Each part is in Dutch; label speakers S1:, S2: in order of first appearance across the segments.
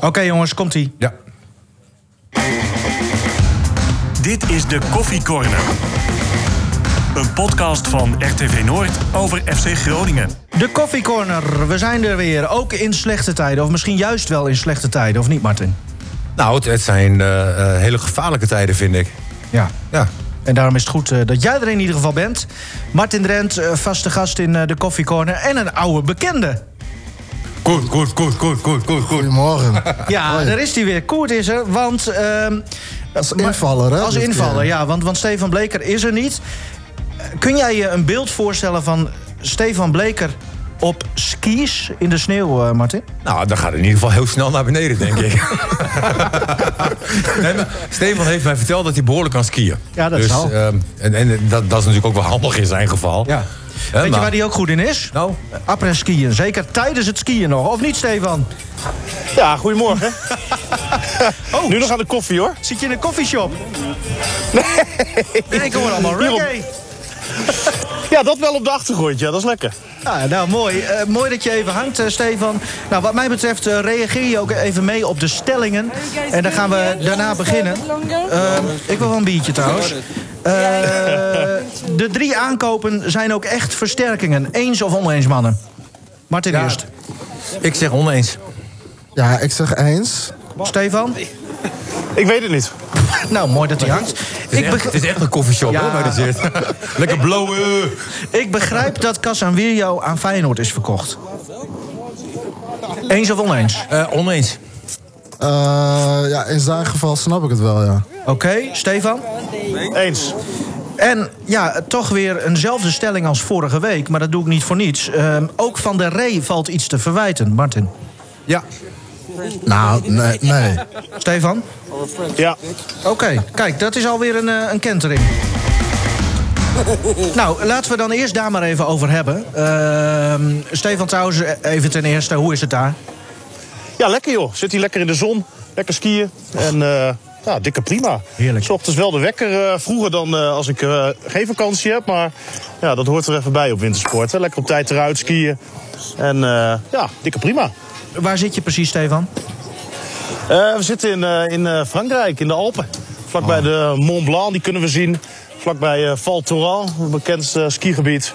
S1: Oké jongens, komt-ie.
S2: Ja.
S3: Dit is de Koffie Corner. Een podcast van RTV Noord over FC Groningen.
S1: De Coffee Corner, we zijn er weer. Ook in slechte tijden, of misschien juist wel in slechte tijden, of niet Martin?
S2: Nou, het, het zijn eh, eh, hele gevaarlijke tijden, vind ik.
S1: Ja.
S2: Ja.
S1: En daarom is het goed eh, dat jij er in ieder geval bent. Martin Drent, eh, vaste gast in eh, de Coffee Corner en een oude bekende.
S2: Goed, goed, goed, goed, goed, goed, goed.
S4: Goedemorgen.
S1: Ja,
S4: Hoi.
S1: daar is hij weer. Koert is er, want... ehm,
S4: Als
S1: maar-
S4: invaller, hè,
S1: Als
S4: dit
S1: invaller,
S4: keer.
S1: ja. Want, want Stefan Bleker is er niet. Eh, Kun jij je een beeld voorstellen van Stefan Bleker op skis in de sneeuw, eh, Martin?
S2: Nou, dan gaat het in ieder geval heel snel naar beneden, denk ik. nee, maar Stefan heeft mij verteld dat hij behoorlijk kan skiën.
S1: Ja, dat
S2: dus,
S1: zal.
S2: ehm, en en dat, dat is natuurlijk ook wel handig in zijn geval.
S1: Ja.
S2: Hè,
S1: Weet je
S2: maar-
S1: waar die ook goed in is?
S2: Nou,
S1: Après skiën, zeker tijdens het skiën nog, of niet Stefan?
S5: Ja, goedemorgen. oh, nu nog aan de koffie hoor.
S1: Zit je in een koffieshop? Nee, ik hoor allemaal
S5: Hierop.
S1: reggae.
S5: Ja, dat wel op de achtergrond, ja, dat is lekker.
S1: Ja, nou, mooi. Eh, mooi dat je even hangt, eh, Stefan. Nou, wat mij betreft eh, reageer je ook even mee op de stellingen. En dan gaan we daarna beginnen. Eh, ik wil wel een biertje trouwens. Eh, de drie aankopen zijn ook echt versterkingen. Eens of oneens, mannen? Martin
S2: Ja.
S1: eerst.
S2: ik zeg oneens.
S4: Ja, ik zeg eens.
S1: Stefan?
S5: Ik weet het niet.
S1: Nou, mooi dat hij hangt.
S2: Het is,
S1: Ik,
S2: echt,
S1: beg-
S2: het is echt een koffieshop,
S1: Ja.
S2: hoor, waar dat zit. Lekker blowen.
S1: ik begrijp dat Casanvirio aan Feyenoord is verkocht. Eens of oneens?
S2: Eh, oneens.
S4: Eh, ja, in zijn geval snap ik het wel, ja.
S1: Oké, Stefan?
S5: Eens.
S1: En ja, toch weer eenzelfde stelling als vorige week, maar dat doe ik niet voor niets. Ehm, ook van de Rey valt iets te verwijten, Martin.
S2: Ja.
S4: Nou, nee. nee.
S1: Stefan?
S5: Ja.
S1: Oké, kijk, dat is alweer een, eh, een kentering. Nou, laten we dan eerst daar maar even over hebben. Ehm, Stefan trouwens, eh, even ten eerste, hoe is het daar?
S5: ja, lekker joh. Zit hier lekker in de zon, lekker skiën. En eh, ja, dikke prima.
S1: Heerlijk.
S5: S ochtends wel de wekker eh, vroeger dan eh, als ik eh, geen vakantie heb. Maar ja, dat hoort er even bij op wintersport. Hè. Lekker op tijd eruit skiën. En eh, ja, dikke prima.
S1: Waar zit je precies, Stefan?
S5: Eh, we zitten in, eh, in eh, Frankrijk, in de Alpen. Vlakbij de Mont Blanc, die kunnen we zien. Vlakbij eh Val Thorens, een bekend eh, skigebied.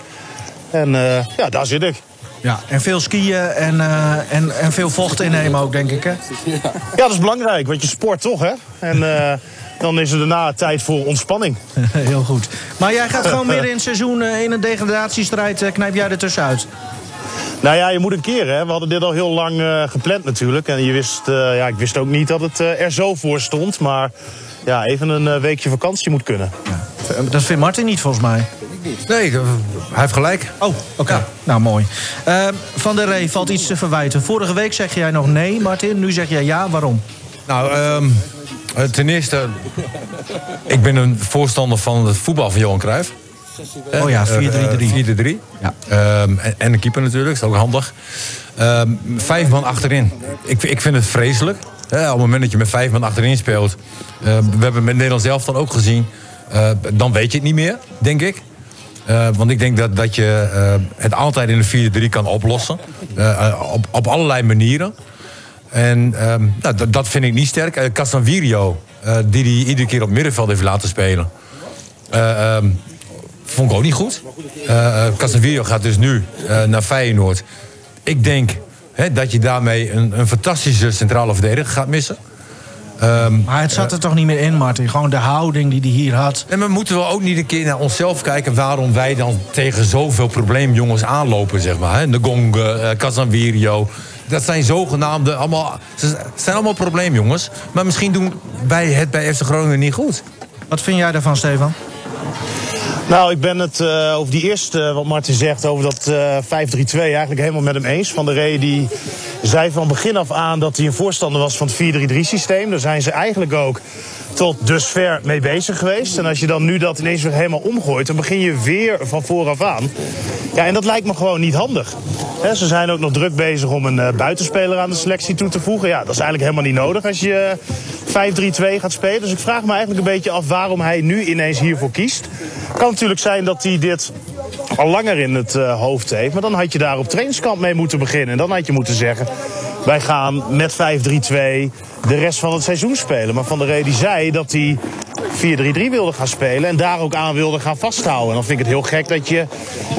S5: En eh, ja, daar zit ik.
S1: Ja. En veel skiën en, eh, en, en veel vocht innemen ook, denk ik, hè?
S5: Ja, dat is belangrijk, want je sport toch, hè? En eh, dan is er daarna tijd voor ontspanning.
S1: Heel goed. Maar jij gaat gewoon midden in het seizoen eh, in een degradatiestrijd, eh, knijp jij er tussenuit.
S5: Nou ja, je moet een keer, hè? We hadden dit al heel lang eh, gepland natuurlijk. En je wist, eh, ja, ik wist ook niet dat het eh, er zo voor stond. Maar ja, even een eh, weekje vakantie moet kunnen.
S1: Eh, Dat vindt Martin niet, volgens mij.
S2: Nee, eh, hij heeft gelijk.
S1: Oh, oké. Nou, mooi. Ehm, Van der Rey valt iets te verwijten. Vorige week zeg jij nog nee, Martin. Nu zeg jij ja. Waarom?
S2: Nou, ehm, eh, ten eerste, ik ben een voorstander van het voetbal van Johan Cruijff. Eh,
S1: Oh ja, 4-3-3.
S2: 4-3-3.
S1: Ja.
S2: Ehm, en, en de keeper natuurlijk, is ook handig. Ehm, vijf man achterin. Ik, ik vind het vreselijk. Hè, op het moment dat je met vijf man achterin speelt. eh, we hebben met Nederland zelf dan ook gezien. eh, dan weet je het niet meer, denk ik. Eh, want ik denk dat, dat je eh, het altijd in de 4-3 kan oplossen. Eh, eh, op, op allerlei manieren. En ehm, nou, dat- dat vind ik niet sterk. Eh Castanvirio, eh, die hij iedere keer op middenveld heeft laten spelen. Eh, ehm, vond ik ook niet goed. Eh eh, Casemiro gaat dus nu eh, naar Feyenoord. Ik denk hè, dat je daarmee een, een fantastische centrale verdediger gaat missen. eh,
S1: Maar het zat er toch niet meer in, Martin. Gewoon de houding die hij hier had.
S2: En we moeten wel ook niet een keer naar onszelf kijken waarom wij dan tegen zoveel probleemjongens aanlopen, zeg maar. Hè? De Gong, eh Casemiro. Dat zijn zogenaamde allemaal. Ze zijn allemaal probleemjongens. Maar misschien doen wij het bij FC Groningen niet goed.
S1: Wat vind jij daarvan, Stefan?
S5: Nou, ik ben het eh, over die eerste, eh, wat Martin zegt, over dat eh 5-3-2 eigenlijk helemaal met hem eens. Van der Rey die zei van begin af aan dat hij een voorstander was van het 4-3-3 systeem. Daar zijn ze eigenlijk ook tot dusver mee bezig geweest. En als je dan nu dat ineens weer helemaal omgooit, dan begin je weer van vooraf aan. Ja, en dat lijkt me gewoon niet handig. Hè, ze zijn ook nog druk bezig om een eh, buitenspeler aan de selectie toe te voegen. Ja, dat is eigenlijk helemaal niet nodig als je eh, 5-3-2 gaat spelen. Dus ik vraag me eigenlijk een beetje af waarom hij nu ineens hiervoor kiest. Kan natuurlijk zijn dat hij dit al langer in het eh, hoofd heeft. Maar dan had je daar op trainingskamp mee moeten beginnen. En dan had je moeten zeggen... wij gaan met 5-3-2 de rest van het seizoen spelen. Maar Van der Rey die zei dat hij 4-3-3 wilde gaan spelen en daar ook aan wilde gaan vasthouden. En dan vind ik het heel gek dat je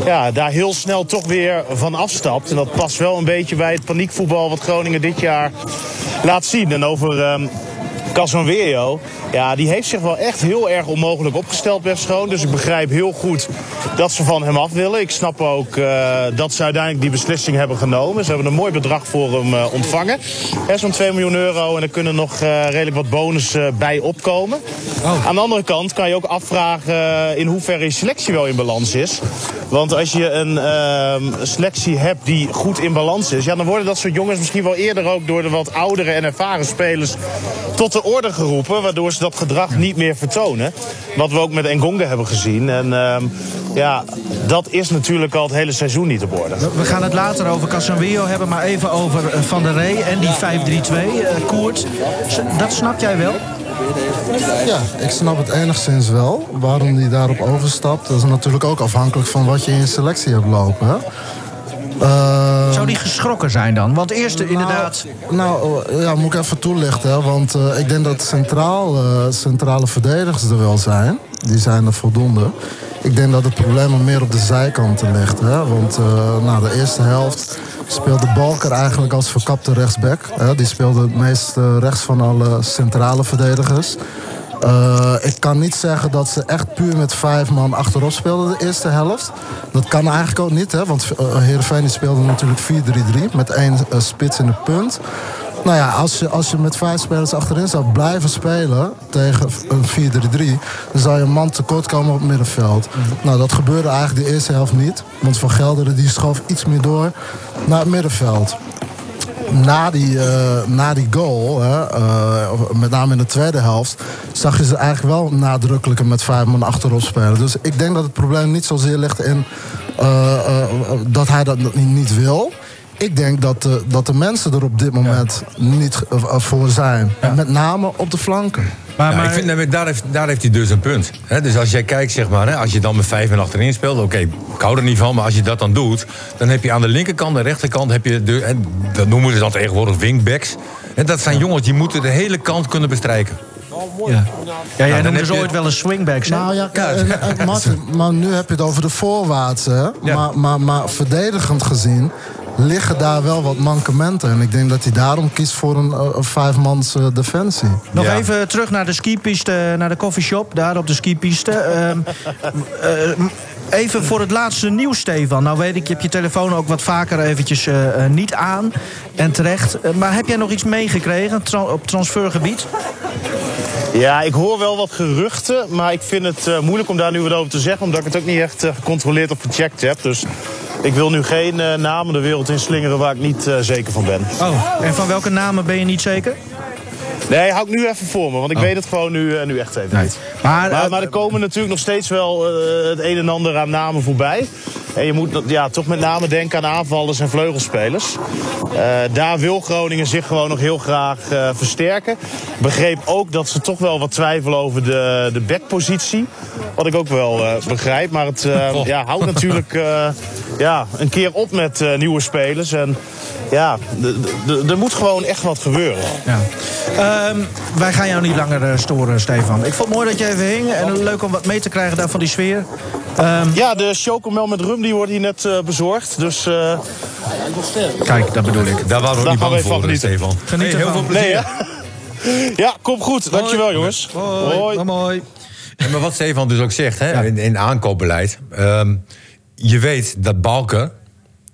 S5: ja, daar heel snel toch weer van afstapt. En dat past wel een beetje bij het paniekvoetbal wat Groningen dit jaar laat zien. En over... ehm, Casanwerio, ja, die heeft zich wel echt heel erg onmogelijk opgesteld bij Schoon. Dus ik begrijp heel goed dat ze van hem af willen. Ik snap ook eh, dat ze uiteindelijk die beslissing hebben genomen. Ze hebben een mooi bedrag voor hem eh, ontvangen. Hè, Zo'n 2 miljoen euro en er kunnen nog eh, redelijk wat bonussen bij opkomen. Aan de andere kant kan je ook afvragen eh, in hoeverre je selectie wel in balans is. Want als je een ehm, selectie hebt die goed in balans is... Ja, dan worden dat soort jongens misschien wel eerder ook door de wat oudere en ervaren spelers tot de orde geroepen, waardoor ze dat gedrag niet meer vertonen. Wat we ook met Engonga hebben gezien. En ehm, ja, dat is natuurlijk al het hele seizoen niet op orde.
S1: We gaan het later over Casemiro hebben, maar even over eh, Van der Rey en die 5-3-2. eh, Koert, S- dat snap jij wel?
S4: Ja, ik snap het enigszins wel. Waarom die daarop overstapt, dat is natuurlijk ook afhankelijk van wat je in je selectie hebt lopen. Hè? Eh,
S1: Zou die geschrokken zijn dan? Want eerst inderdaad...
S4: Nou, eh, ja, moet ik even toelichten. Hè, want eh, ik denk dat centraal, eh, centrale verdedigers er wel zijn. Die zijn er voldoende. Ik denk dat het probleem er meer op de zijkanten ligt. Hè, want eh, na de eerste helft speelde Balker eigenlijk als verkapte rechtsback. Hè, die speelde het meest eh, rechts van alle centrale verdedigers. Eh, ik kan niet zeggen dat ze echt puur met vijf man achterop speelden de eerste helft. Dat kan eigenlijk ook niet, hè? want eh, Heerenveen die speelde natuurlijk 4-3-3 met één eh, spits in de punt. Nou ja, als je, als je met vijf spelers achterin zou blijven spelen tegen een 4-3-3... dan zou je een man tekort komen op het middenveld. Nou, dat gebeurde eigenlijk de eerste helft niet. Want Van Gelderen die schoof iets meer door naar het middenveld na die, eh, na die goal, hè, eh, met name in de tweede helft, zag je ze eigenlijk wel nadrukkelijker met vijf man achterop spelen. Dus ik denk dat het probleem niet zozeer ligt in eh, eh, dat hij dat niet- niet wil. Ik denk dat de, dat de mensen er op dit moment niet eh, voor zijn. Met name op de flanken.
S1: Maar,
S2: Ja,
S1: maar,
S2: nou, ik vind, nee, maar daar, heeft, daar heeft hij dus een punt. Hè, dus als jij kijkt, zeg maar, hè, als je dan met vijf en achterin speelt... oké, ik hou er niet van, maar als je dat dan doet... dan heb je aan de linkerkant en rechterkant... Heb je de, en dat noemen ze dan tegenwoordig wingbacks. En dat zijn jongens die moeten de hele kant kunnen bestrijken.
S1: ja. ja, jij
S2: dan
S1: noemde
S2: heb
S1: ze
S2: je-
S1: ooit wel een swingback, hè?
S4: Nou ja,
S2: Ja.
S4: eh, eh, Martin, maar nu heb je het over de voorwaartse. hè.
S2: Ja.
S4: Maar, maar, maar verdedigend gezien liggen daar wel wat mankementen. En ik denk dat hij daarom kiest voor een, eh, een vijfmans eh, defensie.
S1: Nog
S2: Ja.
S1: even terug naar de skipiste, eh, naar de coffeeshop, daar op de skipiste. Ehm, eh, m- even voor het laatste nieuws, Stefan. Nou weet ik, je hebt je telefoon ook wat vaker eventjes eh, eh, niet aan. En terecht. Eh, maar heb jij nog iets meegekregen tra- op transfergebied?
S5: Ja, ik hoor wel wat geruchten, maar ik vind het eh, moeilijk om daar nu wat over te zeggen, omdat ik het ook niet echt eh, gecontroleerd of gecheckt heb. Dus ik wil nu geen eh, namen de wereld in slingeren waar ik niet eh, zeker van ben.
S1: Oh. En van welke namen ben je niet zeker?
S5: Nee, hou ik nu even voor me, want ik weet het gewoon nu, eh, nu echt even niet.
S1: Maar,
S5: Maar,
S1: eh,
S5: maar er komen natuurlijk nog steeds wel eh, het een en ander aan namen voorbij. En je moet dat- ja, toch met name denken aan aanvallers en vleugelspelers. Eh, daar wil Groningen zich gewoon nog heel graag eh, versterken. Begreep ook dat ze toch wel wat twijfelen over de, de backpositie. Wat ik ook wel eh, begrijp. Maar het eh,
S2: Goh.
S5: ja, houdt natuurlijk eh, ja, een keer op met eh, nieuwe spelers. En ja, de- de- de- er moet gewoon echt wat gebeuren.
S1: ja. Ehm, wij gaan jou niet langer eh, storen, Stefan. Ik vond het mooi dat je even hing. En leuk om wat mee te krijgen daar van die sfeer.
S5: Ja, de chocomel met rum die wordt hier net eh, bezorgd. Dus eh,
S1: Kijk, dat bedoel ik.
S2: Daar waren we ook niet
S5: gaan
S2: bang
S5: we even van
S2: voor, eh,
S5: genieten.
S2: Stefan.
S1: Geniet
S2: Hey, heel
S1: ervan.
S2: veel plezier.
S5: Nee, hè? Ja, kom goed. Dankjewel, jongens.
S1: Hoi. Mooi.
S2: Ja, maar wat Stefan dus ook zegt hè, in, in aankoopbeleid. ehm, je weet dat Balken.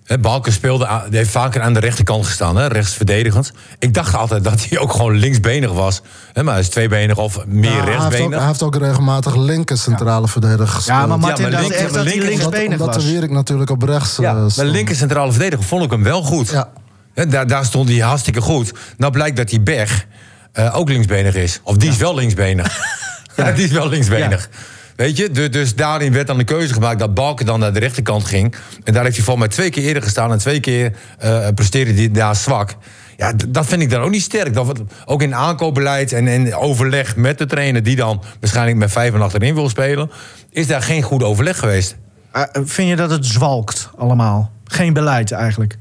S2: Hè, Balken speelde aan- die heeft vaker aan de rechterkant gestaan, hè, rechtsverdedigend. Ik dacht altijd dat hij ook gewoon linksbenig was. Hè, maar hij is tweebenig of meer
S4: Ja, hij, heeft ook, hij
S2: rechtsbenig.
S4: heeft ook regelmatig linker centrale verdediger gespeeld.
S1: Ja, maar Martin
S2: maar
S1: dacht
S2: links-
S1: echt
S2: maar
S1: dat hij
S2: links-
S4: omdat,
S1: linksbenig
S4: omdat
S1: was.
S4: de Wierik natuurlijk op rechts
S2: Ja,
S4: eh,
S2: maar
S4: stond.
S2: linker centrale verdediger vond ik hem wel goed.
S4: Ja.
S2: Hè, daar, daar stond hij hartstikke goed. Nou blijkt dat die Berg eh, ook linksbenig is. Of die is wel linksbenig. ja. die is wel linksbenig. Weet je, du- dus daarin werd dan de keuze gemaakt dat Balken dan naar de rechterkant ging. En daar heeft hij voor mij twee keer eerder gestaan en twee keer eh presteerde hij daar zwak. Ja, d- dat vind ik dan ook niet sterk. Dat wordt- ook in aankoopbeleid en, en overleg met de trainer, die dan waarschijnlijk met vijf en achterin wil spelen, is daar geen goed overleg geweest.
S1: Eh, vind je dat het zwalkt allemaal? Geen beleid eigenlijk.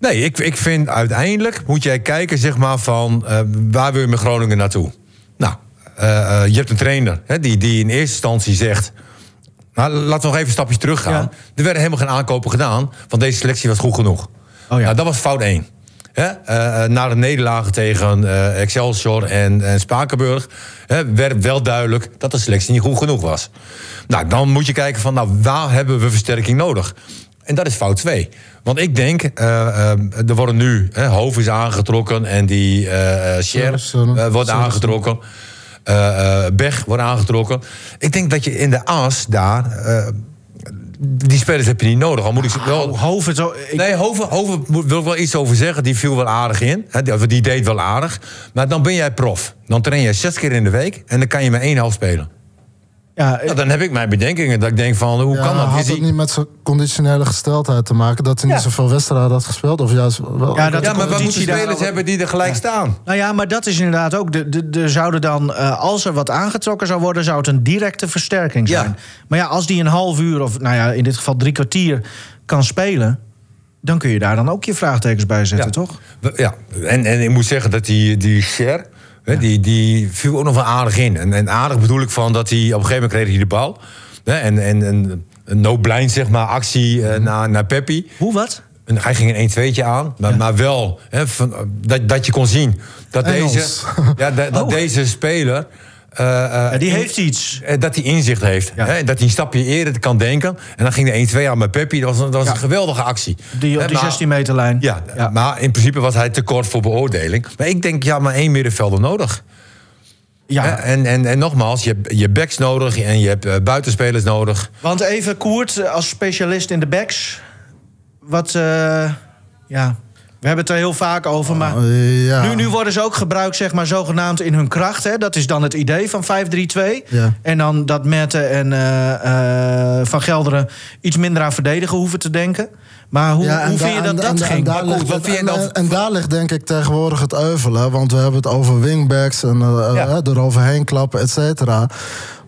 S2: Nee, ik, ik vind uiteindelijk moet jij kijken zeg maar, van eh, waar wil je met Groningen naartoe? Nou, eh, eh, je hebt een trainer hè, die, die in eerste instantie zegt... Nou, laten we nog even een stapje terug gaan.
S1: Ja.
S2: Er werden helemaal geen aankopen gedaan, want deze selectie was goed genoeg.
S1: Oh ja.
S2: Nou, dat was fout één. Hè, eh, eh, na de nederlagen tegen eh, Excelsior en, en Spakenburg... hè, werd wel duidelijk dat de selectie niet goed genoeg was. Nou, dan moet je kijken van nou, waar hebben we versterking nodig? En dat is fout 2. Want ik denk, eh, eh, er worden nu... Hè, Hoofd is aangetrokken en die eh eh, Scher
S4: Sorensen.
S2: eh, wordt
S4: Sorensen.
S2: aangetrokken. Eh, eh, Berg wordt aangetrokken. Ik denk dat je in de as daar... eh, die spelers heb je niet nodig. Al moet ik ze
S1: Nou,
S2: wel...
S1: Hoven, zo, ik,
S2: Nee, Hoven, Hoven moet- wil ik wel iets over zeggen. Die viel wel aardig in. Hè, die, die deed wel aardig. Maar dan ben jij prof. Dan train je zes keer in de week. En dan kan je maar één half spelen.
S1: ja,
S2: Nou, dan heb ik mijn bedenkingen. Dat ik denk van, hoe
S4: Ja,
S2: kan dat?
S4: Had
S2: Is
S4: het
S2: die-
S4: niet met zijn conditionele gesteldheid te maken dat hij
S2: Ja.
S4: niet zoveel wedstrijden had gespeeld? Of juist wel?
S1: Ja, dat-
S2: Ja, maar we moeten
S1: competitie daar-
S2: spelers hebben die er gelijk staan.
S1: Nou ja, maar dat is inderdaad ook. de- de- de zouden dan, eh, als er wat aangetrokken zou worden, zou het een directe versterking
S2: Ja.
S1: zijn. Maar ja, als die een half uur, of nou ja, in dit geval drie kwartier, kan spelen. dan kun je daar dan ook je vraagtekens bij zetten,
S2: Ja.
S1: toch?
S2: We- Ja, en, en ik moet zeggen dat die, die Cher, hè, die, die viel ook nog wel aardig in. En, en aardig bedoel ik van dat hij, op een gegeven moment kreeg hij de bal. Hè, en, en, en een no-blind, zeg maar, actie eh, naar, naar Peppi.
S1: Hoe wat?
S2: En hij ging een 1-2'tje aan, maar, maar wel hè, van, eh, dat, dat je kon zien dat,
S4: Engels.
S2: deze, ja, dat, dat
S1: Oh.
S2: deze speler. eh, eh,
S1: Ja, die
S2: in-
S1: heeft iets.
S2: eh, Dat hij inzicht heeft.
S1: Ja.
S2: Hè, en dat hij een stapje eerder kan denken. En dan ging de 1-2 aan met Peppi. Dat was, een- dat was een geweldige actie.
S1: Die,
S2: Hè,
S1: op die
S2: Eh, maar-
S1: 16 meter lijn.
S2: ja,
S1: ja.
S2: maar in principe was hij tekort voor beoordeling. Maar ik denk, ja, maar één middenvelder nodig. Hè?
S1: ja.
S2: En, en, en nogmaals, je hebt, je hebt backs nodig en je hebt eh, buitenspelers nodig.
S1: Want even Koert, eh, als specialist in de backs. Wat, eh, ja, we hebben het er heel vaak over,
S2: Oh,
S1: maar...
S4: Eh, ja.
S1: Nu, nu worden ze ook gebruikt, zeg maar, zogenaamd in hun kracht. Hè? Dat is dan het idee van 5-3-2.
S4: Ja.
S1: En dan dat Mette en eh, eh, Van Gelderen iets minder aan verdedigen hoeven te denken. Maar hoe,
S4: Ja, en
S1: hoe
S4: daar-
S1: vind je dat
S4: en da- en
S1: dat
S4: da- en
S1: ging?
S4: daar
S2: Maar goed,
S4: ligt
S2: wat
S4: het-
S2: vind je
S4: en-
S2: dan-
S4: en- En daar ligt denk ik tegenwoordig het euvel. Hè? Want we hebben het over wingbacks en eh,
S2: Ja.
S4: eh, eroverheen klappen, et cetera.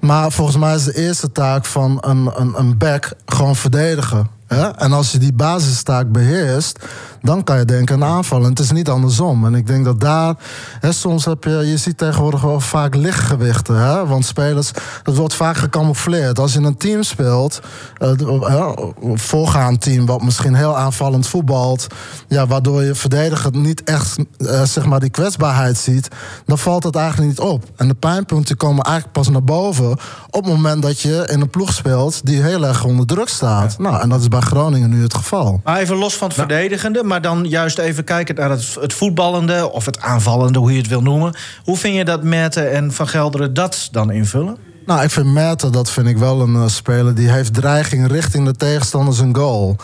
S4: Maar volgens mij is de eerste taak van een, een, een back gewoon verdedigen. Hè? En als je die basistaak beheerst, dan kan je denken aan aanvallen. En het is niet andersom. En ik denk dat daar, hè, soms heb je, je ziet tegenwoordig wel vaak lichtgewichten. Hè? Want spelers, dat wordt vaak gecamoufleerd. Als je in een team speelt, eh, d- eh, voorgaand team, wat misschien heel aanvallend voetbalt, ja, waardoor je verdediger niet echt eh, zeg maar die kwetsbaarheid ziet, dan valt het eigenlijk niet op. En de pijnpunten komen eigenlijk pas naar boven op het moment dat je in een ploeg speelt die heel erg onder druk staat. Nou, en dat is bij Groningen nu het geval.
S1: Maar even los van het
S4: Nou.
S1: verdedigende, maar dan juist even kijken naar het, het voetballende... of het aanvallende, hoe je het wil noemen. Hoe vind je dat Mette en Van Gelderen dat dan invullen?
S4: Nou, ik vind Merten, dat vind ik wel een eh, speler... die heeft dreiging richting de tegenstander zijn goal.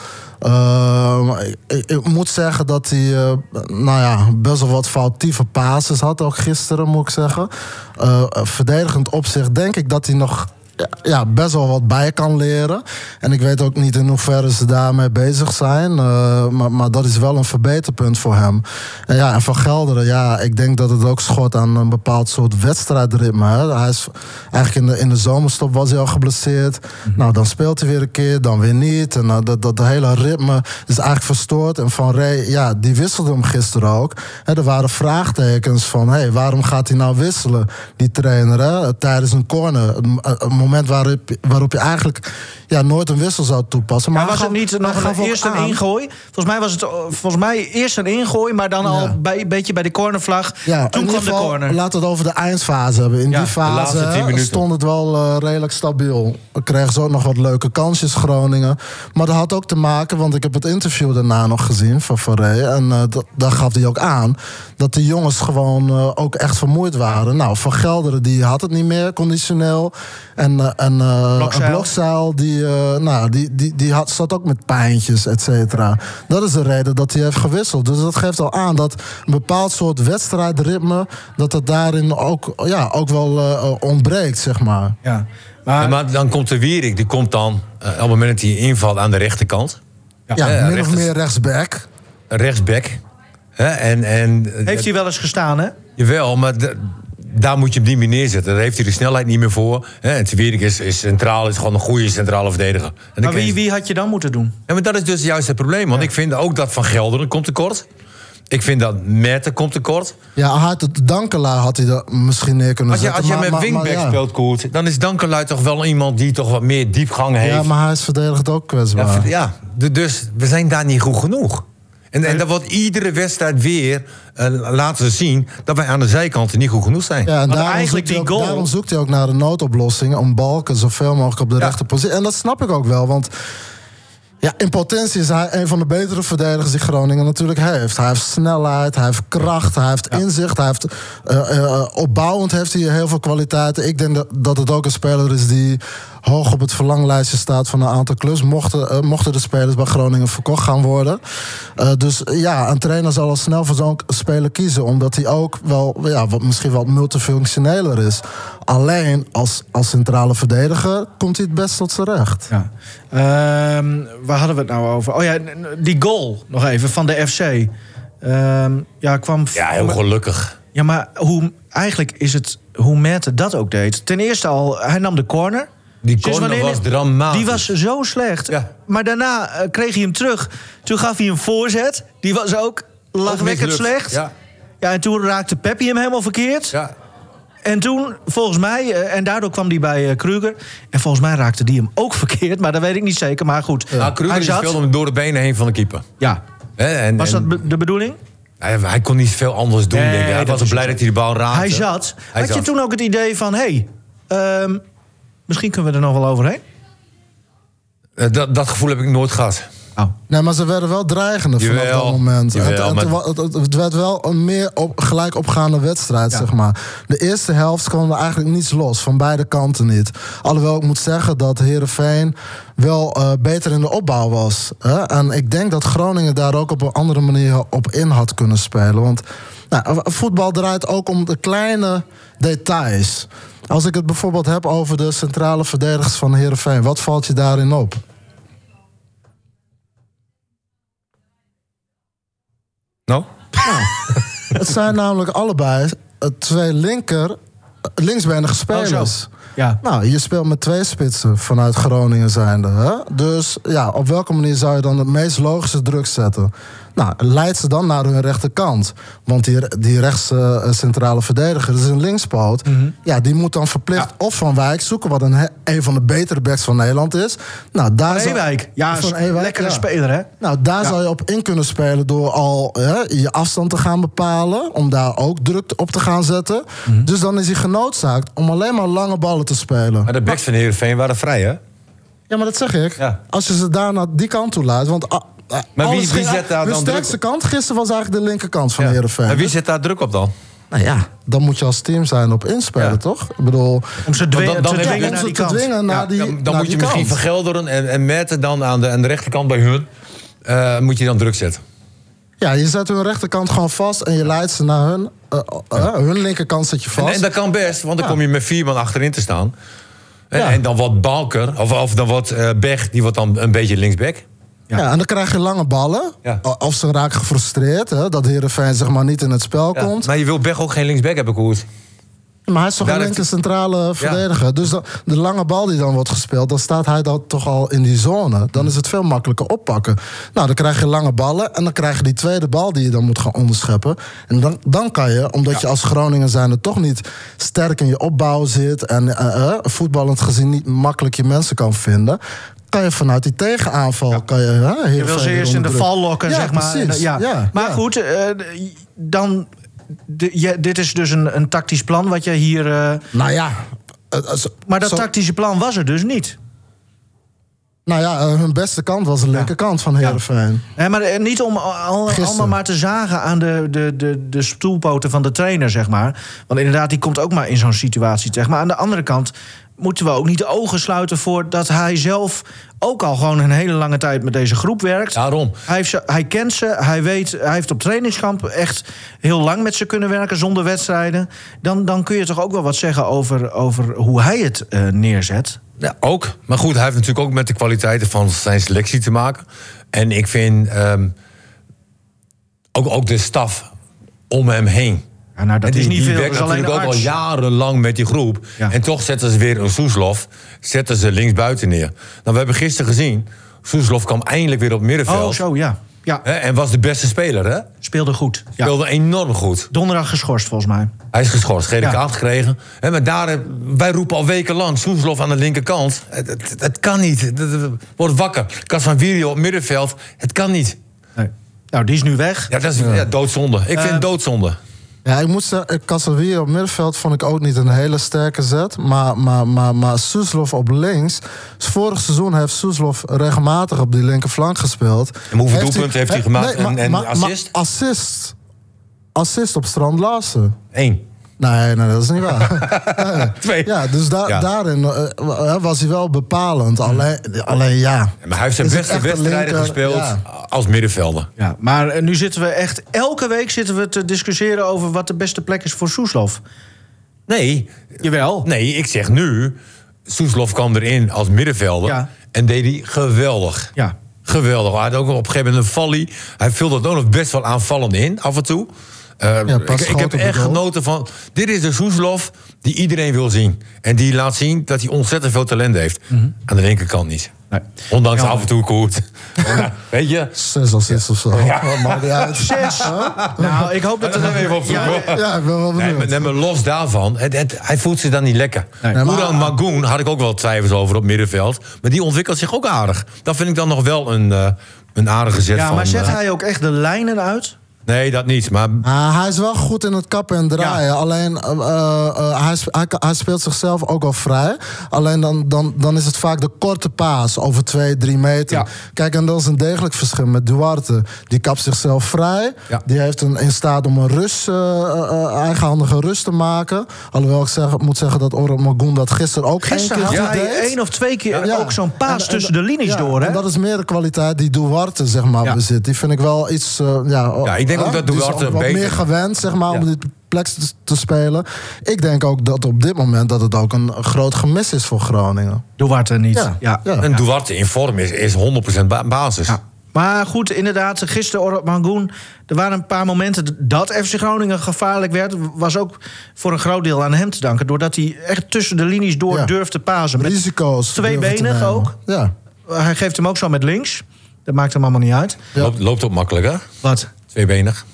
S4: Ehm, ik, ik- ik moet zeggen dat hij eh, nou ja, best wel wat foutieve passes had... ook gisteren, moet ik zeggen. Eh, verdedigend opzicht denk ik dat hij nog... ja, Ja, best wel wat bij kan leren. En ik weet ook niet in hoeverre ze daarmee bezig zijn. eh, maar, maar dat is wel een verbeterpunt voor hem. En ja, en van Gelderen, ja, ik denk dat het ook schort aan een bepaald soort wedstrijdritme. Hè. Hij is eigenlijk in de, in de zomerstop was hij al geblesseerd. Nou, dan speelt hij weer een keer, dan weer niet. En nou, dat, dat hele ritme is eigenlijk verstoord. En Van Rey, ja, die wisselde hem gisteren ook. Hè, er waren vraagtekens van, hé, hey, waarom gaat hij nou wisselen, die trainer, hè, tijdens een corner? Een, eh, een moment waarop, waarop je eigenlijk ja, nooit een wissel zou toepassen.
S1: Maar
S4: hij
S1: was het
S4: gaf-
S1: niet
S4: hij
S1: nog
S4: gaf
S1: een,
S4: ook
S1: eerst een
S4: aan-
S1: ingooi? Volgens mij was het eh, volgens mij eerst een ingooi, maar dan al
S4: Ja.
S1: bij, een beetje bij de cornervlag.
S4: Ja, in
S1: Toen
S4: ieder
S1: kwam de
S4: geval,
S1: corner.
S4: Laten we het over de eindfase hebben. In
S1: Ja,
S4: die
S1: de
S4: fase
S2: laatste tien
S4: hè,
S2: minuten.
S4: stond het wel eh, redelijk stabiel. Kregen ze ook nog wat leuke kansjes, Groningen. Maar dat had ook te maken, want ik heb het interview daarna nog gezien van Faré. En eh, dat, daar gaf hij ook aan dat die jongens gewoon eh, ook echt vermoeid waren. Nou, Van Gelderen die had het niet meer, conditioneel. En, eh, en eh,
S1: Blokzeil.
S4: een Blokzeil, die, eh, nou, die, die, die had, zat ook met pijntjes, et cetera. Dat is de reden dat hij heeft gewisseld. Dus dat geeft al aan dat een bepaald soort wedstrijdritme... dat dat daarin ook, ja, ook wel eh, ontbreekt, zeg maar.
S1: Ja. Maar,
S2: Ja, maar dan komt de Wierik, die komt dan eh, op het moment dat hij invalt aan de rechterkant.
S4: Ja,
S2: Eh,
S4: min
S2: rechters-
S4: of meer rechtsback.
S2: Rechtsback. Hè, en, en,
S1: heeft hij wel eens gestaan, hè?
S2: Jawel, maar de- daar moet je hem niet meer neerzetten. Daar heeft hij de snelheid niet meer voor. Hè? En Tewierik is, is centraal, is gewoon een goede centrale verdediger. En dan
S1: Maar
S2: kun je-
S1: wie, wie had je dan moeten doen?
S2: Ja, maar dat is dus juist het probleem. Want ik vind ook dat Van Gelderen komt tekort. Ik vind dat Merten komt tekort.
S4: Ja, hij had het Dankelaar had hij er misschien neer kunnen
S2: Als je,
S4: zetten.
S2: als je
S4: maar-
S2: met
S4: maar- maar
S2: wingback
S4: ja.
S2: speelt, Koert... dan is Dankelui toch wel iemand die toch wat meer diepgang heeft.
S4: Ja, maar hij is verdedigend ook kwetsbaar.
S2: Ja, v- ja, d- dus we zijn daar niet goed genoeg. En, en dat wordt iedere wedstrijd weer eh, laten ze zien... dat wij aan de zijkanten niet goed genoeg zijn.
S4: Ja, en
S1: Want
S4: daarom,
S1: eigenlijk
S4: zoekt hij
S1: die
S4: ook,
S1: goal-
S4: daarom zoekt hij ook naar de noodoplossingen om balken zoveel mogelijk op de rechterpositie. En dat snap ik ook wel, want ja, in potentie is hij een van de betere verdedigers die Groningen natuurlijk heeft. Hij heeft snelheid, hij heeft kracht, hij heeft inzicht, hij heeft, eh, eh, opbouwend heeft hij heel veel kwaliteiten. Ik denk dat, dat het ook een speler is die hoog op het verlanglijstje staat van een aantal clubs. Mochten, eh, mochten de spelers bij Groningen verkocht gaan worden. Eh, dus eh, ja, een trainer zal al snel voor zo'n speler kiezen. Omdat hij ook wel, ja, wat, misschien wat multifunctioneler is. Alleen als, als centrale verdediger komt hij het best tot zijn recht.
S1: Ja. Ehm, waar hadden we het nou over? Oh ja, n- n- die goal nog even van de FC. Ehm, ja, kwam. v-
S2: Ja, heel gelukkig.
S1: ja, maar hoe, eigenlijk is het hoe Mette dat ook deed. Ten eerste al, hij nam de corner.
S2: Die
S1: Sinds
S2: corner
S1: wanneer-
S2: was dramatisch.
S1: Die was zo slecht.
S2: Ja.
S1: Maar daarna eh, kreeg hij hem terug. Toen gaf hij een voorzet. Die was ook lachwekkend
S2: mislukt.
S1: slecht.
S2: Ja.
S1: Ja, en toen raakte Peppi hem helemaal verkeerd.
S2: Ja.
S1: En toen, volgens mij, eh, en daardoor kwam die bij eh, Kruger. En volgens mij raakte die hem ook verkeerd. Maar dat weet ik niet zeker. Maar goed,
S2: Nou, Kruger
S1: hij
S2: die
S1: zat.
S2: speelde hem door de benen heen van de keeper.
S1: Ja.
S2: Hè, en-
S1: Was dat
S2: en-
S1: be- de bedoeling?
S2: hij, hij kon niet veel anders doen,
S1: Nee,
S2: denk ik. Hij
S1: dat
S2: was
S1: is
S2: blij
S1: zo.
S2: dat hij de bal raakte.
S1: Hij zat.
S2: Hij
S1: Had je
S2: zat.
S1: toen ook het idee van, hé, hey, ehm, misschien kunnen we er nog wel overheen?
S2: Eh, Dat, dat gevoel heb ik nooit gehad.
S1: Oh.
S4: Nee, maar ze werden wel dreigender vanaf
S2: Jawel,
S4: dat moment. En
S2: jawel,
S4: het- het,
S2: maar-
S4: het, het- het werd wel een meer op, gelijk opgaande wedstrijd, zeg maar. De eerste helft kwam er eigenlijk niets los, van beide kanten niet. Alhoewel ik moet zeggen dat Herenveen wel eh, beter in de opbouw was. Hè? En ik denk dat Groningen daar ook op een andere manier op in had kunnen spelen. Want nou, voetbal draait ook om de kleine details. Als ik het bijvoorbeeld heb over de centrale verdedigers van Herenveen, wat valt je daarin op?
S2: Nou?
S4: Het zijn namelijk allebei eh, twee linker, linksbenige
S1: Oh,
S4: spelers.
S1: Ja.
S4: Nou, je speelt met twee spitsen vanuit Groningen zijnde. Hè? Dus ja, op welke manier zou je dan het meest logische druk zetten? Nou, leidt ze dan naar hun rechterkant. Want die, die rechts eh, centrale verdediger, dat is een linkspoot.
S1: Mhm.
S4: Ja, die moet dan verplicht of Van Wijk zoeken... wat een, he- een van de betere backs van Nederland is. Nou, daar
S1: Van
S4: zou-
S1: Ewijk. Ja,
S4: van
S1: is
S4: Ewijk,
S1: lekkere
S4: ja.
S1: speler, hè?
S4: Nou, daar zou je op in kunnen spelen door al hè, je afstand te gaan bepalen. Om daar ook druk op te gaan zetten.
S2: Mhm.
S4: Dus dan is hij genoodzaakt om alleen maar lange ballen te spelen.
S2: Maar de backs van Heerenveen waren vrij, hè?
S4: Ja, maar dat zeg ik.
S2: Ja.
S4: Als je ze daar naar die kant toe laat. Want, ah, ah,
S2: Maar wie-
S4: alles
S2: wie
S4: ging-
S2: zet daar
S4: de
S2: dan
S4: sterkste kant gisteren was eigenlijk de linkerkant van
S2: Ja.
S4: Heerenveen.
S2: En wie
S4: Dus,
S2: zet daar druk op dan?
S4: nou ja, dan moet je als team zijn op inspelen,
S2: Ja.
S4: toch? Ik bedoel,
S1: Om ze
S2: Want
S1: dwe-
S2: dan- dan
S1: te
S2: heb je
S1: dwingen
S4: om
S1: naar
S4: ze
S1: Nou, die
S4: te
S1: kant.
S4: dwingen naar
S2: Ja,
S4: die
S2: dan dan
S4: naar
S2: moet je
S4: die
S2: misschien
S4: kant.
S2: Van Gelderen en, en Merten dan aan de, aan de rechterkant bij hun... eh, moet je dan druk zetten.
S4: Ja, je zet hun rechterkant gewoon vast en je leidt ze naar hun... eh, eh, hun linkerkant zet je
S2: En,
S4: vast.
S2: en dat kan best, want dan kom je met vier man achterin te staan. En,
S4: Ja.
S2: en dan wordt Balker, of, of dan wordt eh Beg, die wordt dan een beetje linksback.
S4: Ja. en dan krijg je lange ballen.
S2: Ja.
S4: O- Of ze raken gefrustreerd, hè, dat Heerenveen zeg maar niet in het spel
S2: Ja.
S4: komt.
S2: Maar je wil Beg ook geen linksback hebben, Koert.
S4: Maar hij is toch
S2: Daar
S4: een
S2: heeft-
S4: linker centrale verdediger. Dus dan- de lange bal die dan wordt gespeeld, dan staat hij dan toch al in die zone.
S1: Hmm.
S4: Dan is het veel makkelijker oppakken. Nou, dan krijg je lange ballen en dan krijg je die tweede bal die je dan moet gaan onderscheppen. En dan, dan kan je, omdat je als Groningen zijnde toch niet sterk in je opbouw zit en eh, eh, voetballend gezien niet makkelijk je mensen kan vinden. Kan je vanuit die tegenaanval. Kan je, hè,
S1: Je
S4: Heerenveen
S1: wil ze
S4: weer
S1: eerst in de
S4: onder druk.
S1: val lokken,
S4: Ja,
S1: zeg maar.
S4: precies.
S1: En dan- ja.
S4: Ja,
S1: maar
S4: ja.
S1: goed, eh, dan... de- je- dit is dus een, een tactisch plan wat je hier... eh,
S4: Nou ja. eh, eh, zo-
S1: maar dat
S4: zo-
S1: tactische plan was er dus niet.
S4: Nou ja, eh, hun beste kant was de linkerkant van Heerenveen.
S1: Hè, maar eh, niet om al- al-
S4: Gisteren.
S1: allemaal maar te zagen aan de, de, de, de stoelpoten van de trainer, zeg maar. Want inderdaad, die komt ook maar in zo'n situatie terecht. Maar aan de andere kant moeten we ook niet de ogen sluiten voor... dat hij zelf ook al gewoon een hele lange tijd met deze groep werkt.
S2: Daarom.
S1: Hij, heeft ze, hij kent ze, hij weet, hij heeft op trainingskamp echt heel lang met ze kunnen werken zonder wedstrijden. Dan, dan kun je toch ook wel wat zeggen over, over hoe hij het eh, neerzet.
S2: Ja, ook. Maar goed, hij heeft natuurlijk ook met de kwaliteiten van zijn selectie te maken. En ik vind ehm, ook, ook de staf om hem heen.
S1: Ja, nou, dat
S2: en die,
S1: is niet
S2: die
S1: veel,
S2: werkt
S1: dat is alleen
S2: natuurlijk ook
S1: de
S2: al jarenlang met die groep.
S1: Ja.
S2: En toch zetten ze weer een Soeslof zetten ze linksbuiten neer. Nou, we hebben gisteren gezien, Soeslof kwam eindelijk weer op het middenveld.
S1: Oh, zo, ja. Ja,
S2: Hè, en was de beste speler, hè?
S1: speelde goed. Ja.
S2: Speelde enorm goed.
S1: Donderdag geschorst, volgens mij.
S2: Hij is geschorst, gele
S1: Ja.
S2: kaart gekregen. Hè, maar daar, eh, wij roepen al wekenlang, Soeslof aan de linkerkant. Het, het, het kan niet. Het- het- het- Word wakker. Kas van Virio op middenveld. Het kan niet.
S1: Nee. Nou, die is nu weg.
S2: Ja, Ehm, dat is ja, doodzonde. Ik vind het doodzonde.
S4: Ja, ik moet zeggen, Casavia op middenveld vond ik ook niet een hele sterke zet. Maar, maar, maar, maar Soeslof op links. Vorig seizoen heeft Soeslof regelmatig op die linkerflank gespeeld.
S2: En hoeveel doelpunten heeft hij gemaakt en- en assist?
S4: assist? Assist op Strand Larsen.
S2: Eén.
S4: Nee, nee, dat is niet waar. Nee.
S2: Twee.
S4: Ja, dus da-
S2: Ja.
S4: daarin eh, eh, was hij wel bepalend. Alleen, alleen ja.
S2: Maar hij heeft zijn
S4: Is het
S2: beste
S4: echt een
S2: wedstrijden
S4: linker?
S2: gespeeld
S4: Ja.
S2: als middenvelder.
S1: Ja, maar eh, nu zitten we echt... Elke week zitten we te discussiëren over wat de beste plek is voor Soeslof.
S2: Nee,
S1: Jawel.
S2: nee, ik zeg nu... Soeslof kwam erin als middenvelder
S1: Ja.
S2: en deed hij geweldig.
S1: Ja.
S2: Geweldig. Hij had ook op een gegeven moment een volley. Hij vulde het ook nog best wel aanvallend in, af en toe. Eh,
S4: Ja,
S2: ik,
S4: pas
S2: ik
S4: groot
S2: heb
S4: op de
S2: echt
S4: goal.
S2: genoten van... Dit is de Soeslof die iedereen wil zien. En die laat zien dat hij ontzettend veel talent heeft. Aan de linkerkant niet.
S1: Mhm. Nee.
S2: Ondanks
S1: Jammer.
S2: af en toe koert. Weet je?
S4: Zes assists of zo. Ja. Maar, ja, het-
S1: Zes. Nou, ik hoop dat
S2: Dat
S1: er...
S2: gaan we even opzoeken.
S1: Ja,
S2: hoor.
S4: ja, ik ben wel
S2: Nee, maar,
S4: benieuwd.
S2: nee, maar los daarvan, het, het- hij voelt zich dan niet lekker.
S1: Nee.
S2: Hoe
S1: Nee,
S4: maar-
S2: dan Magoen had ik ook wel twijfels over op middenveld. Maar die ontwikkelt zich ook aardig. Dat vind ik dan nog wel een, eh, een aardige zet
S1: ja,
S2: van...
S1: maar zet
S2: eh,
S1: hij ook echt de lijnen uit?
S2: Nee, dat niet. Maar
S4: Ah, hij is wel goed in het kappen en draaien. Alleen eh, eh, eh, hij, sp- hij, hij speelt zichzelf ook al vrij. Alleen dan, dan, dan is het vaak de korte paas over twee, drie meter.
S1: Ja.
S4: Kijk, en dat is een degelijk verschil met Duarte. Die kapt zichzelf vrij.
S2: Ja.
S4: Die heeft een, in staat om een rust, eh, eh, eh, eigenhandige rust te maken. Alhoewel ik zeg, moet zeggen dat Orhan Magoen dat gisteren ook
S1: Gisteren
S4: één
S1: had
S4: keer goed
S1: hij
S4: deed.
S1: één of twee keer
S4: Ja.
S1: ook zo'n
S4: En-
S1: paas
S4: en-
S1: tussen de linies
S4: ja,
S1: door, hè?
S4: En dat is meer de kwaliteit die Duarte zeg maar,
S1: Ja.
S4: bezit. Die vind ik wel iets... eh, ja,
S2: Ja, ik denk ook dat
S4: die is
S2: Duarte
S4: ook wat
S2: beter-
S4: meer gewend zeg maar, om
S2: Ja.
S4: dit plek te, te spelen. Ik denk ook dat op dit moment dat het ook een groot gemis is voor Groningen.
S1: Duarte niet.
S4: Ja,
S1: Ja.
S4: ja.
S2: een Duarte in vorm is, is 100% ba- basis.
S1: Ja. Maar goed, inderdaad, gisteren Orop Mangoen... er waren een paar momenten dat FC Groningen gevaarlijk werd... was ook voor een groot deel aan hem te danken... doordat hij echt tussen de linies door
S4: Ja.
S1: durft te pasen. Met-
S4: Risico's.
S1: twee
S4: durven te
S1: benig
S4: nemen.
S1: ook.
S4: Ja.
S1: hij geeft hem ook zo met links. Dat maakt hem allemaal niet uit.
S4: Ja.
S2: Loopt, loopt ook makkelijk, hè?
S1: Wat?
S2: Tweebenig.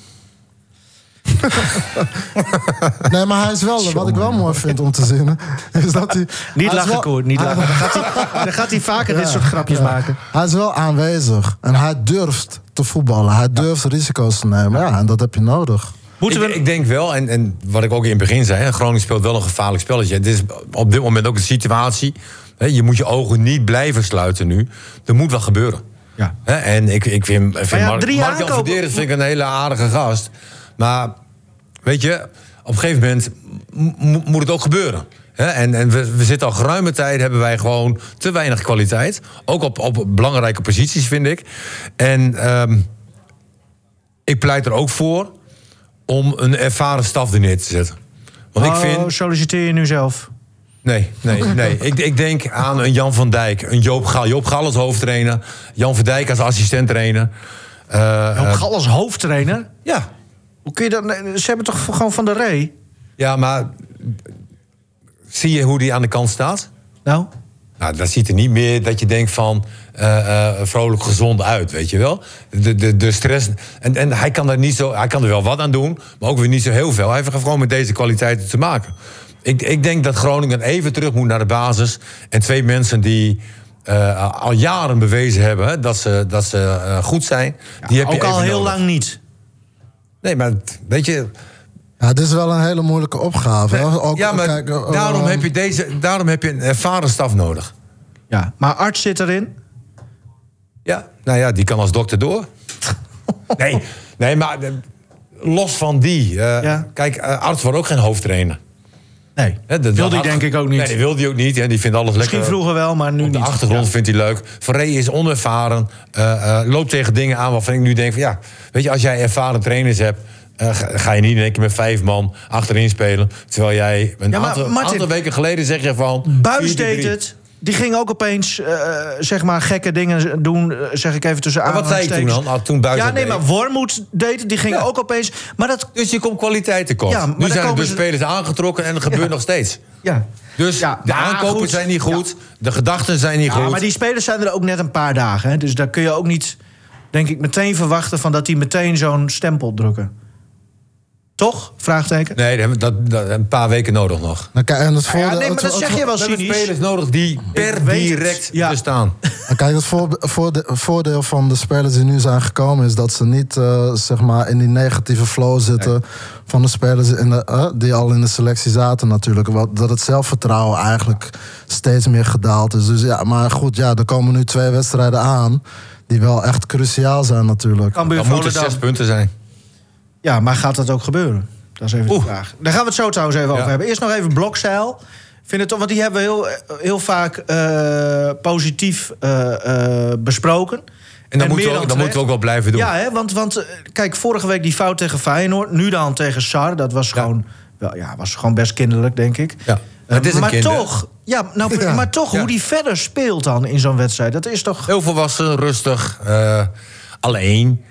S4: Nee, maar hij is wel, wat ik wel mooi vind om te zien... is dat hij... hij
S1: Niet
S4: is
S1: lachen,
S4: wel-
S1: Koert, niet
S4: hij-
S1: lachen. Ah, Dan gaat hij, dan gaat hij vaker dit
S4: Ja,
S1: soort grapjes
S4: ja.
S1: maken.
S4: Hij is wel aanwezig. En hij durft te voetballen. Hij durft risico's te nemen. Ja, en dat heb je nodig.
S1: Moeten
S2: ik,
S1: we...
S2: ik denk wel, en, en wat ik ook in het begin zei... hè, Groningen speelt wel een gevaarlijk spelletje. Het is op dit moment ook een situatie... Hè, je moet je ogen niet blijven sluiten nu. Er moet wat gebeuren.
S1: Ja.
S2: Hè, en ik, ik vind, ik vind
S1: ja,
S2: Mar-
S1: drie
S2: Mark
S1: aankopen-
S2: Jan Verderens vind ik een hele aardige gast. Maar weet je, op een gegeven moment mo- mo- moet het ook gebeuren. Hè, en en we, we zitten al geruime tijd, hebben wij gewoon te weinig kwaliteit. Ook op, op belangrijke posities, vind ik. En ehm, ik pleit er ook voor om een ervaren staf er neer te zetten. Want ik
S1: Oh,
S2: vind...
S1: solliciteer je nu zelf?
S2: Nee, nee, nee. Ik, ik denk aan een Jan van Dijk. Een Joop Gal. Joop Gal als hoofdtrainer. Jan van Dijk als assistent trainer. Eh,
S1: Joop Gal als hoofdtrainer?
S2: Ja.
S1: Hoe kun je dat... nee, Ze hebben toch gewoon Van der Rey?
S2: Ja, maar zie je hoe die aan de kant staat?
S1: Nou?
S2: Nou, dat ziet er niet meer dat je denkt van eh, eh, vrolijk gezond uit, weet je wel. De, de, de stress. En, en hij, kan er niet zo, hij kan er wel wat aan doen, maar ook weer niet zo heel veel. Hij heeft gewoon met deze kwaliteiten te maken. Ik, ik denk dat Groningen even terug moet naar de basis. En twee mensen die eh, al jaren bewezen hebben hè, dat ze, dat ze eh, goed zijn. die heb je
S1: ook al
S2: even
S1: heel
S2: nodig.
S1: lang niet.
S2: Nee, maar het- weet je,
S4: Ja, het is wel een hele moeilijke opgave. hè. Ook,
S2: ja, maar
S4: kijk, eh,
S2: daarom,
S4: eh,
S2: heb je deze, daarom heb je een ervaren staf nodig.
S1: Ja. Maar Arts zit erin.
S2: Ja, nou ja, die kan als dokter door. nee, nee, maar eh, los van die. eh,
S1: Ja.
S2: Kijk, eh, arts wordt ook geen hoofdtrainer.
S1: Nee.
S2: Hè, dat-
S1: Wil
S2: dat
S1: die
S2: had-
S1: denk ik ook niet.
S2: Nee, die wil die ook niet. En die vindt alles lekker.
S1: Misschien vroeger wel, maar nu
S2: Op de
S1: niet.
S2: achtergrond vindt hij leuk. Verree is onervaren. eh, eh, loopt tegen dingen aan waarvan ik nu denk van ja... Weet je, als jij ervaren trainers hebt... eh, ga ga je niet in één keer met vijf man achterin spelen. Terwijl jij een
S1: Ja, maar
S2: aantal,
S1: Martin,
S2: aantal weken geleden zeg je van...
S1: Buis
S2: 4-3-3.
S1: deed het. die ging ook opeens eh, zeg maar gekke dingen doen, eh, zeg ik even tussen
S2: Maar wat zei je toen
S1: aanhalingstekens.
S2: dan? Ah, toen buiten
S1: Ja, nee,
S2: deed.
S1: maar Wormoed deed het, die ging
S2: Ja.
S1: ook opeens... Maar dat,
S2: Dus je komt kwaliteit tekort.
S1: Ja, maar
S2: nu
S1: dan
S2: zijn er
S1: komen
S2: dus
S1: ze-
S2: spelers aangetrokken en dat gebeurt nog steeds.
S1: ja.
S2: Dus
S1: Ja,
S2: de
S1: maar
S2: aankopen
S1: goed.
S2: zijn niet goed, de gedachten zijn
S1: Ja,
S2: niet goed.
S1: maar die spelers zijn er ook net een paar dagen. Hè? Dus daar kun je ook niet, denk ik, meteen verwachten... van dat die meteen zo'n stempel drukken. Toch? Vraagteken?
S2: Nee, dat, dat, dat- een paar weken nodig nog.
S4: Nou, kijk, en het voordeel,
S1: ja, nee, maar
S4: het-
S1: dat
S4: het-
S1: zeg je wel
S2: We hebben
S1: cynisch.
S2: spelers nodig die per
S1: weet het.
S2: direct
S1: Ja.
S2: bestaan.
S4: En Kijk, het voorbe- voorde- voordeel van de spelers die nu zijn gekomen is dat ze niet eh, zeg maar in die negatieve flow zitten van de spelers in de, eh, die al in de selectie zaten natuurlijk. Wat, dat het zelfvertrouwen eigenlijk steeds meer gedaald is. Dus ja, maar goed, ja, er komen nu twee wedstrijden aan die wel echt cruciaal zijn natuurlijk.
S1: Cambuur
S2: Dan moeten zes
S1: Volendam.
S2: punten zijn.
S1: Ja, maar gaat dat ook gebeuren? Dat is even
S2: Oeh.
S1: de vraag. Daar gaan we het zo trouwens even
S2: Ja.
S1: over hebben. Eerst nog even blokzeil. Ik Vind het toch, want die hebben we heel, heel vaak eh, positief eh, eh, besproken.
S2: En dan, moeten,
S1: meer
S2: we ook, dan
S1: terecht.
S2: moeten we ook wel blijven doen.
S1: Ja, hè, want, want eh, kijk, vorige week die fout tegen Feyenoord. Nu dan tegen Sar. Dat was gewoon, wel, ja, was gewoon best kinderlijk, denk ik.
S2: Ja.
S1: Eh,
S2: Het is een
S1: maar,
S2: kinder.
S1: toch, ja, nou,
S4: Ja.
S1: maar toch,
S2: Ja.
S1: hoe die verder speelt dan in zo'n wedstrijd. Dat is toch...
S2: Heel volwassen, rustig, eh, alleen.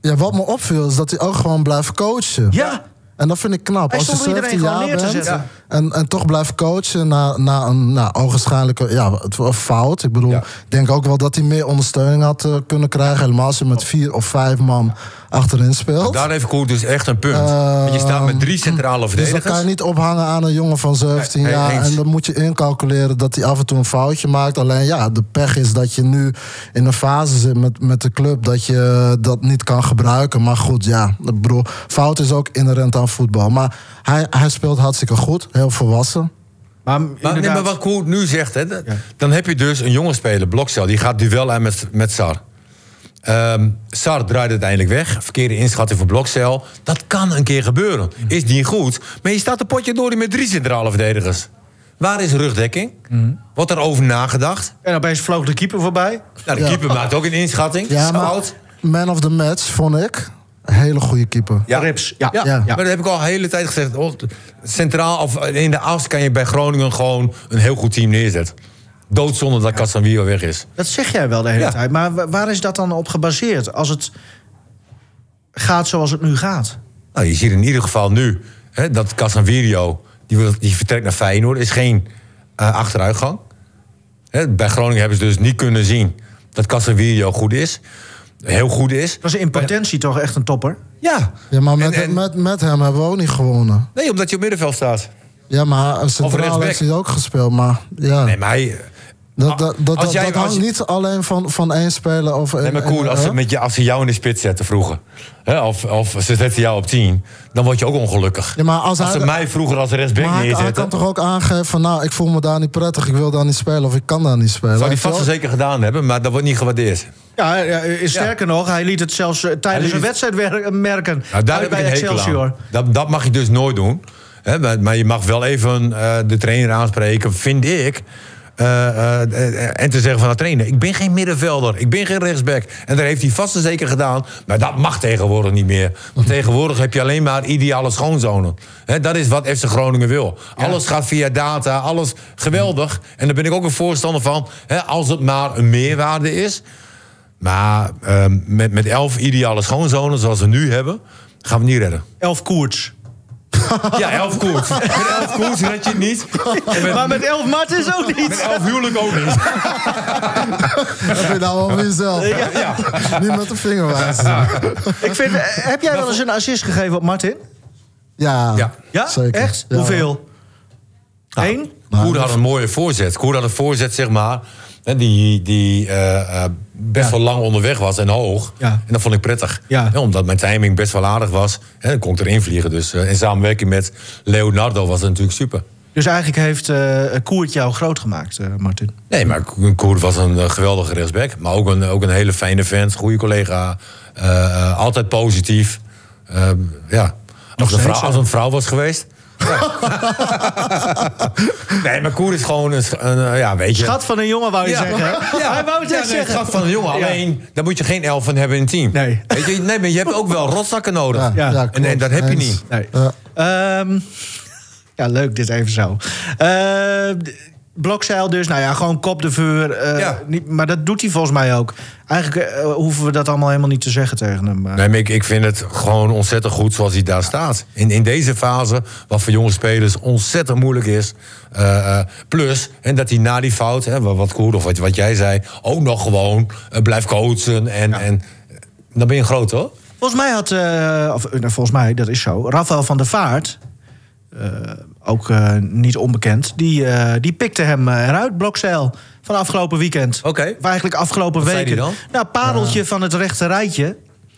S4: Ja, wat me opviel is dat hij ook gewoon blijft coachen.
S1: Ja,
S4: En dat vind ik knap.
S1: Hij
S4: Als je
S1: stond iedereen
S4: 17
S1: gewoon
S4: jaar
S1: neer te
S4: bent
S1: zetten.
S4: en, en toch blijft coachen na, na een nou, ogenschijnlijke ja, het- een fout. Ik bedoel,
S2: Ja.
S4: ik denk ook wel dat hij meer ondersteuning had eh, kunnen krijgen. Helemaal als je met vier of vijf man achterin speelt.
S2: Oh. Daar heeft Koert dus echt een punt.
S4: Eh,
S2: Want je staat met drie centrale
S4: dus dat kan je
S2: verdedigers.
S4: niet ophangen aan een jongen van 17
S2: Nee,
S4: jaar.
S2: eens.
S4: En dan moet je incalculeren dat hij af en toe een foutje maakt. Alleen ja, de pech is dat je nu in een fase zit met, met de club dat je dat niet kan gebruiken. Maar goed, ja, ik bedoel, fout is ook inherent aan voetbal. Maar hij, hij speelt hartstikke goed, heel volwassen.
S1: maar,
S2: Maar, nee, maar
S1: inderdaad.
S2: wat Koert nu zegt, hè, dat- dan heb je dus een jonge speler, Blokcel, die gaat duel aan met, met Sar. Ehm, Sar draait uiteindelijk weg. Verkeerde inschatting voor Blokcel. Dat kan een keer gebeuren. Is niet goed. Maar je staat een potje door die met drie centrale verdedigers. Waar is rugdekking?
S4: Mhm.
S2: Wordt er over nagedacht?
S1: En opeens vloog de keeper voorbij.
S2: Nou, de
S4: Ja.
S2: keeper maakt ook een inschatting.
S4: Ja, maar
S2: Fout.
S4: man of the match vond ik. Hele goede keeper.
S2: Ja.
S1: Rips, ja.
S2: Ja,
S4: Ja.
S2: maar dat heb ik al de hele tijd gezegd. Oh, Centraal of in de as kan je bij Groningen gewoon een heel goed team neerzetten. Doodzonde dat Casemiro weg is.
S1: Dat zeg jij wel de hele
S2: Ja.
S1: tijd. Maar wa- waar is dat dan op gebaseerd? Als het gaat zoals het nu gaat.
S2: Nou, je ziet in ieder geval nu hè, dat Casemiro, die, wil- die vertrekt naar Feyenoord, is geen eh, achteruitgang. Hè, bij Groningen hebben ze dus niet kunnen zien dat Casemiro goed is. Heel goed is.
S1: Dat is in potentie toch echt een topper?
S2: Ja.
S4: Ja, maar met,
S2: En- en-
S4: met, met hem hebben we ook niet gewonnen.
S2: nee, omdat je op middenveld staat.
S4: Ja, maar een
S2: rechtsback.
S4: centraal heeft hij ook gespeeld. Maar ja.
S2: Nee, maar hij...
S4: Dat, dat, dat,
S2: Ah, Als
S4: dat-
S2: jij-
S4: dat
S2: als
S4: hangt
S2: je-
S4: niet alleen van, van één speler of eh,
S2: Nee, maar eh, Koen, als ze, met je, als ze jou in de spits zetten vroeger... Hè, of, of ze zetten jou op 10, dan word je ook ongelukkig.
S4: Ja, maar als hij
S2: ze
S4: de-
S2: mij vroeger als rechtsback
S4: maar hij, hij
S2: neerzetten...
S4: kan toch ook aangeven van nou, ik voel me daar niet prettig, ik wil daar niet spelen of ik kan daar niet spelen.
S2: zou die
S4: Hij
S2: vast wel
S4: heeft
S2: zeker gedaan hebben, maar dat wordt niet gewaardeerd.
S1: Ja, ja, eh, sterker nog, hij liet het zelfs eh, tijdens
S2: liet
S1: een
S2: het-
S1: wedstrijd wer- eh, merken.
S2: Nou, daar
S1: Uit
S2: heb ik
S1: bij
S2: een hekel
S1: Excelsior.
S2: aan. Dat, dat mag je dus nooit doen. Hè, maar, maar je mag wel even eh, de trainer aanspreken, vind ik. Eh, eh, eh, en te zeggen van de trainer, ik ben geen middenvelder, ik ben geen rechtsback. En dat heeft hij vast en zeker gedaan. Maar dat mag tegenwoordig niet meer. Want tegenwoordig heb je alleen maar ideale schoonzonen. Hè, dat is wat FC Groningen wil. Alles gaat via data, alles geweldig. En daar ben ik ook een voorstander van. Hè, als het maar een meerwaarde is. Maar ehm, met, met elf ideale schoonzonen zoals we nu hebben, gaan we het niet redden.
S1: Elf koerts.
S2: Ja, elf koers. Met elf koers red je het niet. En met,
S1: Maar met elf Martens ook
S2: met
S1: niet.
S2: elf huwelijk ook niet.
S4: wel- Heb je nou over jezelf?
S2: Ja.
S4: Niet met de vinger wijzen.
S1: Ik vind, eh, heb jij wel eens een assist gegeven op Martin?
S4: Ja,
S2: Ja.
S1: Ja,
S4: zeker.
S1: echt?
S4: Ja. Nou.
S1: Hoeveel? Eén?
S2: Koer had een mooie voorzet. Koer had een voorzet, zeg maar, hè, die, die eh, eh, best wel lang onderweg was en hoog.
S1: Ja.
S2: En dat vond ik prettig.
S1: Ja.
S2: Hè, omdat mijn timing best wel aardig was. En dan kon ik erin vliegen. Dus eh, in samenwerking met Leonardo was dat natuurlijk super.
S1: Dus eigenlijk heeft eh Koert jou groot gemaakt, eh, Martin.
S2: Nee, maar Koer was een eh, geweldige rechtsback. Maar ook een, ook een hele fijne vent, goede collega. eh, eh, altijd positief. Eh, ja. Als een,
S1: steeds,
S2: vrouw,
S1: hè?
S2: als een vrouw was geweest. Ja. nee, maar Koer is gewoon een, sch- een, eh, ja, weet je...
S1: Schat van een jongen, wou je
S2: Ja.
S1: zeggen. hè?
S2: Ja.
S1: Hij wou het
S2: Ja,
S1: echt
S2: nee,
S1: zeggen.
S2: Schat van een jongen,
S1: Ja.
S2: alleen daar moet je geen elf van hebben in het team.
S1: Nee.
S2: Weet je, nee, maar je hebt ook wel rotzakken nodig.
S4: Ja,
S1: Ja.
S4: ja,
S2: En- en dat heb je
S4: klopt.
S2: niet.
S1: Nee.
S4: Ja.
S1: Ehm, ja, leuk dit even zo. Ehm, d- Blokzeil dus, nou ja, gewoon kop de vuur. eh,
S2: Ja.
S1: niet, maar dat doet hij volgens mij ook. Eigenlijk eh, hoeven we dat allemaal helemaal niet te zeggen tegen hem. eh. maar-
S2: Nee, maar ik, ik vind het gewoon ontzettend goed zoals hij daar staat. In, in deze fase, wat voor jonge spelers ontzettend moeilijk is. eh, eh, plus, en dat hij na die fout, hè, wat, wat Koer of wat, wat jij zei... ook nog gewoon eh, blijft coachen. En, en dan ben je groot, hoor.
S1: Volgens mij had, eh, of eh, nou, volgens mij, dat is zo, Rafael van der Vaart, eh, ook eh, niet onbekend, die, eh, die pikte hem eh, eruit, Blokzeil, van afgelopen weekend.
S2: Oké.
S1: Of eigenlijk afgelopen
S2: Wat zei
S1: weken.
S2: die dan?
S1: Nou, pareltje van het rechte rijtje.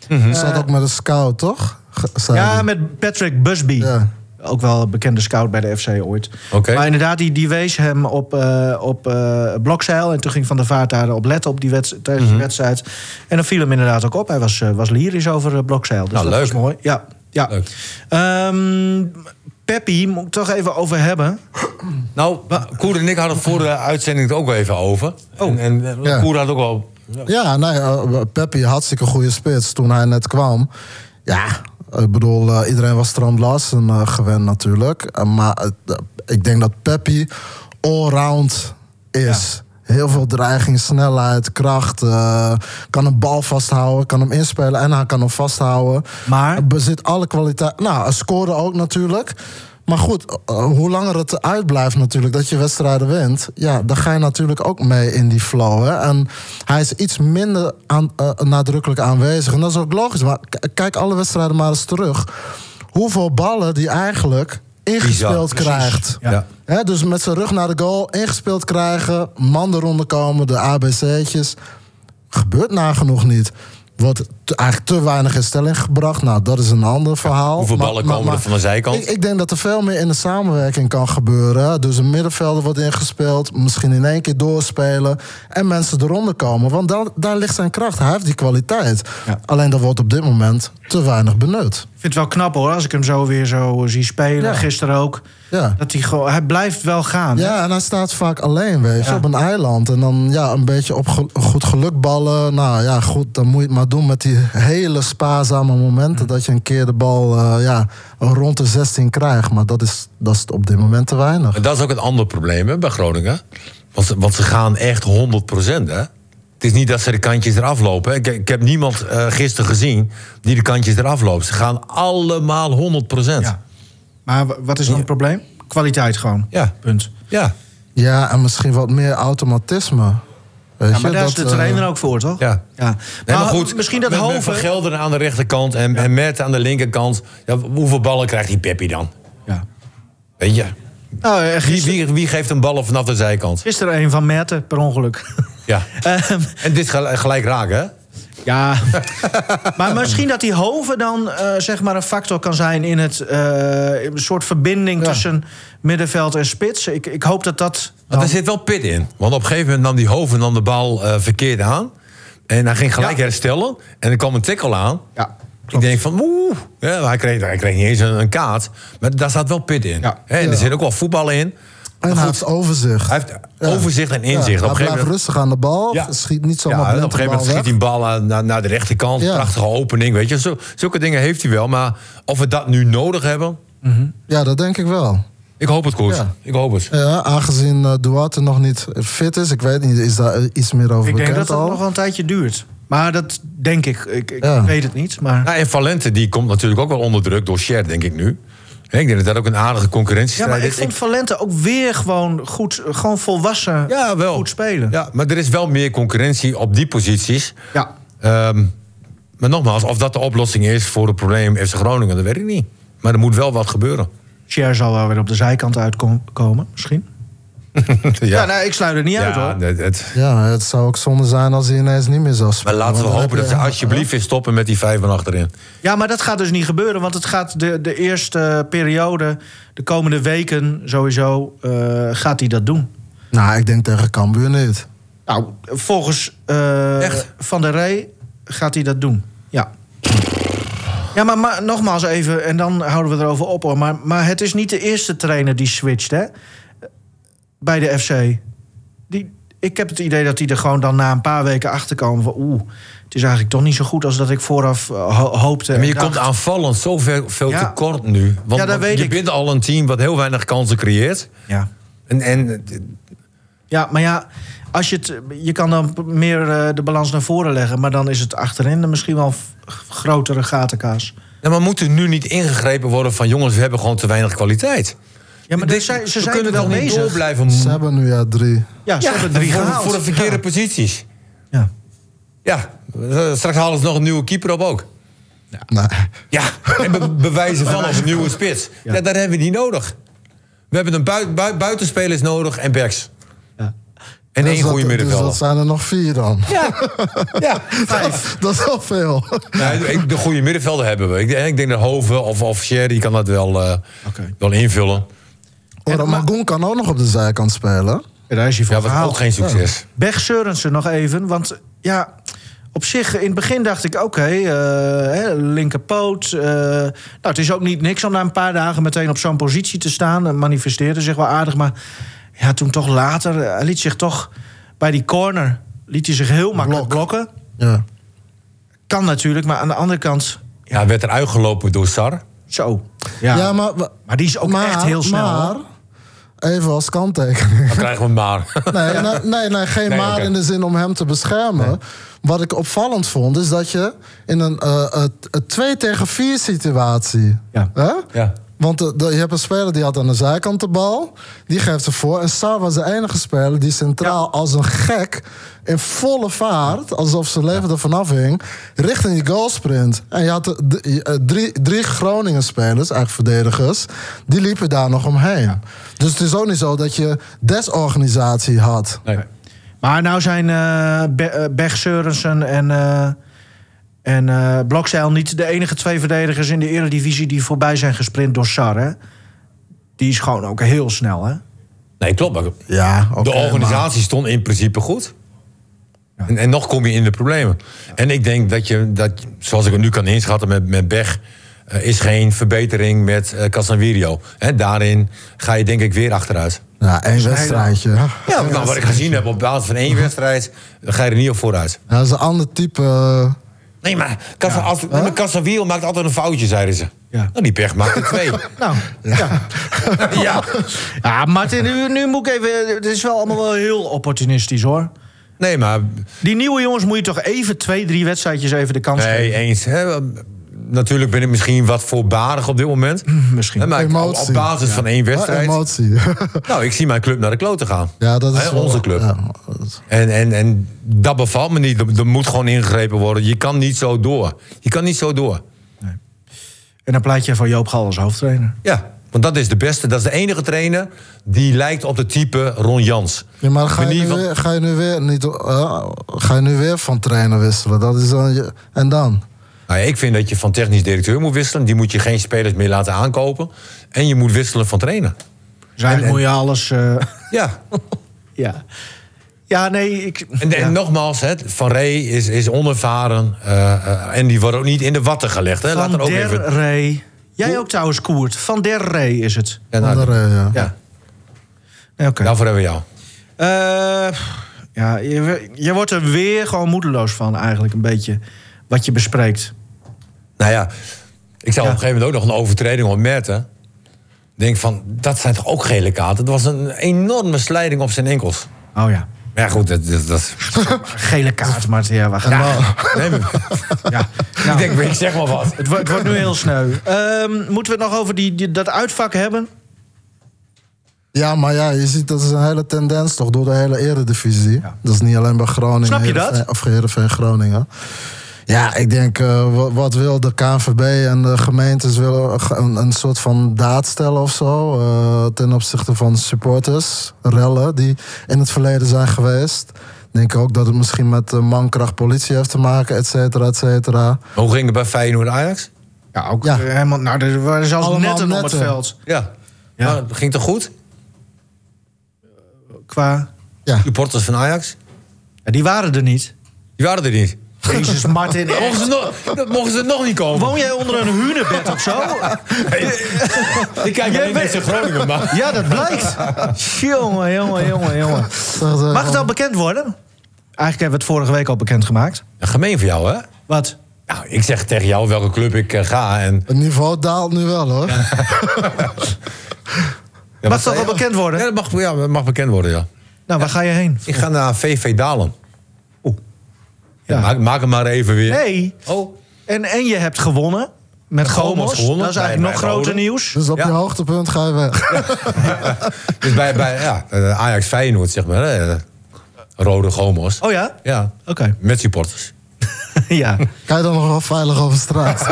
S2: Mhm.
S4: Zat ook met een scout, toch? Ge- zei
S1: Ja,
S4: hij.
S1: met Patrick Busby.
S4: Ehm, Ja.
S1: Ook wel een bekende scout bij de FC ooit.
S2: Oké.
S1: Maar inderdaad, die, die wees hem op, eh op eh, Blokzeil. En toen ging Van der Vaart daarop letten op die wedst- tijdens
S2: Mhm.
S1: die wedstrijd. En dan viel hem inderdaad ook op. Hij was, eh, was lyrisch over eh, Blokzeil. Dus
S2: Nou,
S1: dat
S2: leuk.
S1: was mooi. Ja, ja.
S2: Leuk.
S1: Ehm, Peppi, moet ik toch even over hebben.
S2: Nou, Koer en ik hadden voor de uitzending het ook wel even over. En, en eh,
S4: Ja.
S2: Koer had ook wel...
S4: Ja, nee, eh, Peppi, hartstikke goede spits toen hij net kwam. Ja, ik bedoel, eh, iedereen was Strand Larsen eh, gewend natuurlijk. Eh, maar eh, ik denk dat Peppi allround is. Heel veel dreiging, snelheid, kracht. eh, kan een bal vasthouden, kan hem inspelen en hij kan hem vasthouden. Eh,
S1: Maar?
S4: Hij bezit alle kwaliteiten. Nou, hij scoorde ook natuurlijk. Maar goed, eh, hoe langer het uitblijft natuurlijk dat je wedstrijden wint... ja, dan ga je natuurlijk ook mee in die flow. Hè? En hij is iets minder aan, eh, nadrukkelijk aanwezig. En dat is ook logisch. Maar k- kijk alle wedstrijden maar eens terug. Hoeveel ballen die eigenlijk ingespeeld
S2: Precies.
S4: krijgt.
S2: Ja.
S4: Hè, dus met zijn rug naar de goal, ingespeeld krijgen... man eronder komen, de ABC'tjes gebeurt nagenoeg niet. Wordt te- eigenlijk te weinig in stelling gebracht. Nou, dat is een ander verhaal.
S2: hoeveel ballen komen er van de zijkant?
S4: Ik, ik denk dat er veel meer in de samenwerking kan gebeuren. Dus een middenvelder wordt ingespeeld. Misschien in één keer doorspelen. En mensen eronder komen. Want daar, daar ligt zijn kracht. Hij heeft die kwaliteit. Alleen dat wordt op dit moment te weinig benut.
S1: Ik vind het wel knap hoor, als ik hem zo weer zo zie spelen.
S4: Ja.
S1: Gisteren ook.
S4: Ja.
S1: Dat hij, gewoon, hij blijft wel gaan. hè?
S4: Ja, en hij staat vaak alleen, weet je,
S1: Ja.
S4: op een eiland. En dan ja, een beetje op ge- goed geluk ballen. Nou ja, goed, dan moet je het maar doen met die hele spaarzame momenten... dat je een keer de bal eh, ja, rond de 16 krijgt. Maar dat is, dat is op dit moment te weinig.
S2: En dat is ook het andere probleem hè, bij Groningen. Want ze, want ze gaan echt 100 hè. Het is niet dat ze de kantjes eraf lopen. hè. Ik, ik heb niemand eh, gisteren gezien die de kantjes eraf loopt. Ze gaan allemaal 100 Ja.
S1: Ja. Maar w- wat is dan het probleem? Kwaliteit gewoon.
S2: Ja.
S1: Punt.
S2: ja.
S4: Ja, en misschien wat meer automatisme. Weet
S1: Ja,
S4: je,
S1: maar daar is de
S4: dat, eh,
S1: trainer ook voor, toch?
S2: Ja.
S1: ja.
S2: Nee, maar
S1: Maar
S2: goed,
S1: misschien dat
S2: met, met
S1: Hoven...
S2: Van Gelderen aan de rechterkant en, en Mert aan de linkerkant. Ja, hoeveel ballen krijgt die Peppi dan?
S1: Ja.
S2: Weet je?
S1: Nou, eh,
S2: Wie,
S1: gisteren,
S2: wie, wie geeft hem ballen vanaf de zijkant?
S1: gisteren een van Merten, per ongeluk.
S2: Ja.
S1: Ehm,
S2: En dit gaat gelijk raken, hè?
S1: ja. maar misschien dat die Hoven dan eh, zeg maar een factor kan zijn... in het eh, een soort verbinding tussen middenveld en spits. Ik, ik hoop dat dat...
S2: Want
S1: dan-
S2: er zit wel pit in. Want op een gegeven moment nam die Hoven dan de bal eh, verkeerd aan. En hij ging gelijk
S1: Ja.
S2: herstellen. En er kwam een tackle aan.
S1: Ja,
S2: ik
S1: klopt.
S2: denk van, oeh. Ja, hij, kreeg, hij kreeg niet eens een, een kaart. Maar daar zat wel pit in.
S1: Ja.
S2: Hè, En er
S4: Ja.
S2: zit ook wel voetbal in.
S4: En hij heeft overzicht.
S2: Hij heeft overzicht en
S4: Ja,
S2: inzicht.
S4: hij
S2: op een
S4: blijft
S2: gegeven moment...
S4: rustig aan de bal.
S2: Ja.
S4: Schiet niet
S2: Ja,
S4: zomaar
S2: en
S4: blind
S2: op een gegeven
S4: de
S2: moment schiet
S4: bal
S2: hij
S4: weg.
S2: een bal aan- naar, naar de rechterkant.
S4: Ja.
S2: Prachtige opening, weet je. Zo, zulke dingen heeft hij wel. Maar of we dat nu nodig hebben...
S4: Ja, dat denk ik wel.
S2: Ik hoop het, Koert.
S4: Ja.
S2: Ik hoop het.
S4: Ja, aangezien eh, Duarte nog niet fit is, ik weet niet, is daar eh, iets meer over
S1: Ik denk
S4: bekend
S1: dat het
S4: al?
S1: nog wel een tijdje duurt. Maar dat denk ik. Ik, ik
S4: Ja.
S1: weet het niet, maar...
S2: Nou, en Valente die komt natuurlijk ook wel onder druk door Sher, denk ik nu. Hè, Ik denk dat dat ook een aardige
S1: Ja,
S2: concurrentiestrijd
S1: maar ik
S2: is.
S1: vond Valente ook weer gewoon goed, eh, gewoon volwassen
S2: Ja, wel.
S1: goed spelen.
S2: Ja, maar er is wel meer concurrentie op die posities.
S1: Ja.
S2: Ehm, maar nogmaals, of dat de oplossing is voor het probleem FC Groningen, dat weet ik niet. Maar er moet wel wat gebeuren.
S1: Cher zal wel weer op de zijkant uitkomen, misschien. Ja, nou, ik sluit er niet uit
S2: Ja,
S1: hoor.
S2: het- het-
S4: Ja, het zou ook zonde zijn als hij ineens niet meer zou
S2: maar
S4: spelen.
S2: laten we
S4: Want dan
S2: hopen
S4: heb
S2: dat
S4: je-
S2: ze alsjeblieft weer stoppen met die vijf van achterin.
S1: Ja, maar dat gaat dus niet gebeuren, want het gaat de, de eerste periode, de komende weken sowieso, eh, gaat hij dat doen.
S4: Nou, ik denk tegen Cambuur niet.
S1: Nou, volgens eh,
S2: Echt?
S1: Van der Rey gaat hij dat doen. Ja. Ja, maar, maar nogmaals even, en dan houden we erover op hoor. Maar, maar het is niet de eerste trainer die switcht, hè? Bij de FC. Die, ik heb het idee dat die er gewoon dan na een paar weken achter komen van... oeh, het is eigenlijk toch niet zo goed als dat ik vooraf eh, ho- hoopte.
S2: Maar je
S1: en dacht.
S2: komt aanvallend zo veel, veel
S1: Ja.
S2: te kort nu. Want,
S1: Ja, dat
S2: want
S1: weet
S2: je
S1: ik.
S2: bent al een team wat heel weinig kansen creëert.
S1: Ja.
S2: En, en
S1: Ja, maar ja, als je, het, je kan dan meer eh, de balans naar voren leggen. Maar dan is het achterin misschien wel een f- grotere gatenkaas.
S2: Ja, maar moet er nu niet ingegrepen worden van jongens, we hebben gewoon te weinig kwaliteit?
S1: Ja, maar dit zijn, ze
S2: we
S1: zijn er
S2: kunnen
S1: wel
S2: toch niet
S1: bezig.
S2: door blijven
S4: Ze hebben nu ja drie.
S1: Ja, ze
S2: Ja,
S1: hebben drie
S2: voor,
S1: gehaald.
S2: voor de verkeerde posities.
S1: Ja.
S2: Ja, eh, straks halen ze nog een nieuwe keeper op ook.
S4: Nee.
S2: Ja, en be- bewijzen van als een nieuwe spits. Ja. dat hebben we niet nodig. We hebben een bui- bui- buitenspelers nodig en backs.
S1: Ja.
S2: En
S4: Dus
S2: één
S4: dat-
S2: goede
S4: Dus dat
S2: middenvelder.
S4: zijn er nog vier dan.
S2: Ja, ja.
S4: Dat is wel veel.
S2: Nee, ik- de goede middenvelden hebben we. Ik, eh, ik denk dat Hoven of, of Sher, die kan dat wel, eh,
S1: Oké.
S2: wel invullen.
S4: Oran Magoen kan ook nog op de zijkant spelen.
S1: Ja, daar is hij voor
S2: Ja, was
S1: gehaald.
S2: ook geen succes.
S1: Beg Sørensen nog even, want ja... Op zich, in het begin dacht ik, oké, eh, hè, linkerpoot. eh, nou, het is ook niet niks om na een paar dagen meteen op zo'n positie te staan. En manifesteerde zich wel aardig, maar ja, toen toch later... eh, Hij liet zich toch bij die corner liet hij zich heel makkelijk blokken.
S4: Ja.
S1: Kan natuurlijk, maar aan de andere kant,
S2: Ja, werd er uitgelopen door Sar.
S1: zo. Ja,
S4: Ja, maar, we-
S1: Maar die is ook
S4: maar-
S1: echt heel snel,
S4: Maar,
S1: hoor.
S4: even als kanttekening.
S2: Dan krijgen we hem maar.
S4: Nee, nee, nee, nee, geen
S2: Nee,
S4: maar
S2: oké.
S4: in de zin om hem te beschermen. Wat ik opvallend vond, is dat je in een 2 tegen 4 situatie...
S1: Ja.
S4: Hè?
S2: Ja.
S4: Want eh, de- de- je hebt een speler die had aan de zijkant de bal. Die geeft ervoor. En Sar was de enige speler die centraal als een gek... in volle vaart, alsof zijn leven er vanaf hing... richting die goalsprint. En je had de- de- eh, drie, drie Groningen-spelers, eigenlijk verdedigers... die liepen daar nog omheen. Dus het is ook niet zo dat je desorganisatie had...
S2: Nee.
S1: Maar nou zijn eh Be- eh, Beg Sørensen en, eh en eh Blokzeil niet de enige twee verdedigers in de Eredivisie die voorbij zijn gesprint door Sar. Hè? Die is gewoon ook heel snel, hè?
S2: nee, klopt. maar
S4: Ja, oké,
S2: de organisatie stond in principe goed. En, en nog kom je in de problemen. En ik denk dat je, dat, zoals ik het nu kan inschatten met, met Beg... eh, is geen verbetering met eh Casanvirio. Hè, daarin ga je denk ik weer achteruit.
S4: maar- Ja, één wedstrijdje.
S2: Ja, nou, wat ik gezien heb op basis van één wedstrijd... eh, ga je er niet op vooruit.
S4: Ja, dat is een ander type... eh,
S2: Nee, maar Casa- als- nee, maar Casanvirio maakt altijd een foutje, zeiden ze.
S1: Ja.
S2: Nou, die Beg maakt er twee.
S1: Nou, ja.
S2: ja.
S1: Ja, Martin, nu, nu moet ik even... Het is wel allemaal wel heel opportunistisch, hoor.
S2: Nee, maar...
S1: Die nieuwe jongens moet je toch even twee, drie wedstrijdjes even de kans
S2: Nee,
S1: geven.
S2: eens. Hè, natuurlijk ben ik misschien wat voorbarig op dit moment.
S1: misschien.
S2: Hè, Maar ik- op, op
S4: Mm, Emotie. Ah,
S2: basis van één wedstrijd...
S4: Emotie.
S2: Nou, ik zie mijn club naar de kloten gaan.
S4: ja, dat is
S2: Hè,
S4: wel-
S2: onze club.
S4: ja, dat is-
S2: En, en, en dat bevalt me niet. Er- Er moet gewoon ingegrepen worden. Je kan niet zo door. Je kan niet zo door.
S1: En dan pleit je voor Joop Gal als hoofdtrainer.
S2: Ja, want dat is de beste. Dat is de enige trainer die lijkt op de type Ron Jans.
S4: Ja, maar ga je,
S2: Manier
S4: nu
S2: van-
S4: weer, ga, je nu weer niet, eh, ga je nu weer van trainer wisselen? Dat is dan je- en dan?
S2: Nou ja, ik vind dat je van technisch directeur moet wisselen. Die moet je geen spelers meer laten aankopen. En je moet wisselen van trainer.
S1: Dus eigenlijk moet je alles... eh,
S2: Ja.
S1: ja. ja, nee, ik...
S2: En, en
S1: ja.
S2: nogmaals, hè, Van Rey is, is onervaren. eh, eh, en die wordt ook niet in de watten gelegd. Hè. Laat
S1: Van
S2: er ook
S1: der
S2: even...
S1: Rey. Jij ook trouwens, Koert. Van der Rey is het.
S2: Ja, nou,
S4: Andere, ja.
S1: Ja. Nou. Nee, Oké.
S2: daarvoor hebben we jou.
S1: Eh, ja, je, je wordt er weer gewoon moedeloos van eigenlijk een beetje. Wat je bespreekt.
S2: Nou ja, ik zou
S1: Ja.
S2: op een gegeven moment ook nog een overtreding opmerken. Ik Denk van, dat zijn toch ook gele kaarten? Dat was een enorme slijding op zijn enkels.
S1: Oh ja.
S2: Maar ja, goed, dat... dat, dat-
S1: Gele kaart, Martin. Ja, we gaan
S2: nee, maar-
S1: Ja.
S2: Ik
S1: Nou,
S2: denk, ik zeg maar wat.
S1: het, wordt- het wordt nu heel sneu. Ehm, moeten we het nog over die, die- dat uitvak hebben?
S4: Ja, maar ja, je ziet dat is een hele tendens toch door de hele eredivisie. Dat is niet alleen bij Groningen.
S1: Snap je dat?
S4: Heerenveen- Of Heerenveen Groningen. Ja, ik denk, eh, wat, wat wil de KNVB en de gemeentes willen een- een, een soort van daad stellen of zo. eh, ten opzichte van supporters, rellen die in het verleden zijn geweest. Ik denk ook dat het misschien met eh, mankracht politie heeft te maken, et cetera, et cetera.
S2: Hoe ging het bij Feyenoord-Ajax?
S1: Ja, ook.
S4: Ja.
S1: Helemaal, nou, er waren zelfs
S4: Allemaal
S1: netten op het
S4: netten.
S1: veld.
S2: Ja.
S1: Ja.
S2: Maar het ging toch goed?
S1: Qua...
S4: Ja.
S2: Supporters van Ajax?
S1: Ja, die waren er niet.
S2: Die waren er niet.
S1: Jezus, Martin. echt.
S2: Mochten ze, nog- dat- mochten ze nog niet komen?
S1: Woon jij onder een hunebed of zo?
S2: Ik kijk alleen niet zo Groningen, maar...
S1: Ja, dat blijkt. jongen, jongen, jongen, jongen.
S4: Dat, eh,
S1: Mag het al bekend worden? Eigenlijk hebben we het vorige week al bekendgemaakt.
S2: Ja, Gemeen voor jou, hè?
S1: Wat?
S2: Nou, ik zeg tegen jou welke club ik eh, ga en...
S4: Het niveau daalt nu wel hoor.
S2: Ja,
S1: Mag
S2: wat
S1: toch
S2: zei
S1: al
S2: je?
S1: bekend worden?
S2: Ja, dat mag, ja, dat mag bekend worden, ja.
S1: Nou, waar ga je heen?
S2: Ik ga naar VV Dalen. Oeh. Ja,
S1: Ja.
S2: Maak, maak hem maar even weer.
S1: Nee.
S2: Oh.
S1: En, en je hebt gewonnen. Met Gomos.
S2: Gomos gewonnen.
S1: Dat is eigenlijk
S2: Bij-
S1: nog
S2: bij
S1: groter
S2: Roda.
S1: nieuws.
S4: Dus op
S2: Ja.
S4: je hoogtepunt ga je weg.
S2: Dus bij, bij ja, eh, Ajax Feyenoord, zeg maar. hè, eh, Rode Gomos.
S1: Oh ja?
S2: Ja.
S1: Oké.
S2: Met supporters.
S1: ja.
S4: Ga je dan nog wel veilig over straat?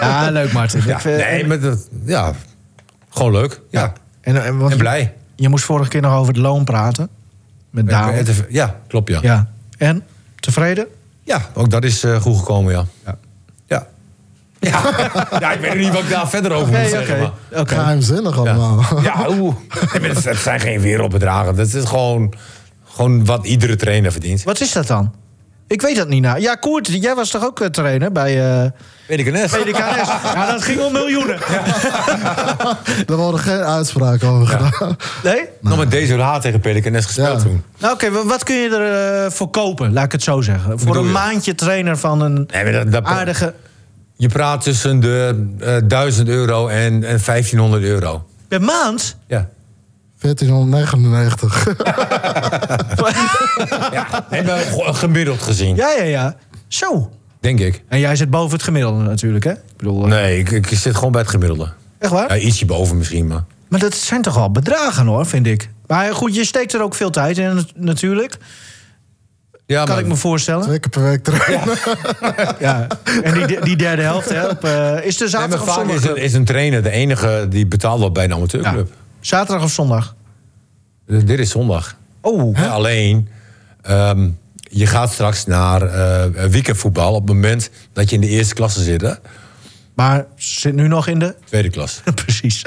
S1: ja, leuk Martin. eh,
S2: Ja. Nee, maar dat, ja. Gewoon leuk. Ja.
S1: en, en, want
S2: En blij.
S1: Je moest vorige keer nog over het loon praten. Met Daan.
S2: Ja, ja klopt ja. ja.
S1: Ja. En? Tevreden?
S2: ook dat is eh, goed gekomen, ja.
S1: Ja.
S2: Ja. Ja. ja, ik weet niet wat ik daar verder over moet
S1: Nee,
S2: zeggen.
S1: oké.
S2: maar-
S1: Oké.
S4: Geheimzinnig
S2: Ja,
S4: allemaal.
S2: ja oeh. Nee, maar Het het zijn geen wereldbedragen. Dat is gewoon, gewoon wat iedere trainer verdient.
S1: Wat is dat dan? Ik weet dat niet nou. Ja, Koert, jij was toch ook eh, trainer bij eh
S2: Weet ik het net.
S1: PDKS? ja, dat ging om miljoenen.
S4: Daar worden geen uitspraken over gedaan.
S1: Nee?
S2: Nog met deze laat tegen Pelicanes gespeeld
S4: Ja.
S2: toen.
S1: Nou, oké, wa- wat kun je er eh, voor kopen? Laat ik het zo zeggen. Voor
S2: bedoel
S1: een
S2: je?
S1: maandje trainer van een
S2: Nee, maar dat, dat,
S1: aardige...
S2: Je praat tussen de eh 1000 euro en, en 1500 euro.
S1: Per maand?
S2: Ja.
S4: 1499.
S2: ja. Nee, maar ge- gemiddeld gezien,
S1: Ja, ja, ja. Zo.
S2: denk ik.
S1: En jij zit boven het gemiddelde natuurlijk, hè? Ik bedoel, eh,
S2: Nee, ik, ik zit gewoon bij het gemiddelde.
S1: echt waar?
S2: Ja, ietsje boven misschien, maar...
S1: Maar dat zijn toch wel bedragen, hoor, vind ik. Maar goed, je steekt er ook veel tijd in, nat- natuurlijk.
S2: Ja,
S1: Kan ik me voorstellen.
S4: Twee keer per week trainen.
S1: Ja. En die, de- die derde helft, hè? op, eh, is er
S2: Nee, maar
S1: zaterdag of
S2: vaak
S1: zondag?
S2: is, een- is een trainer de enige die betaald wordt bij een
S1: Ja.
S2: amateurclub.
S1: Zaterdag of zondag?
S2: D- Dit is zondag.
S1: Oh,
S2: Ja, alleen, ehm, je gaat straks naar eh, weekendvoetbal op het moment dat je in de eerste klasse zit. Hè?
S1: maar zit nu nog in de...
S2: Tweede klas.
S1: Precies.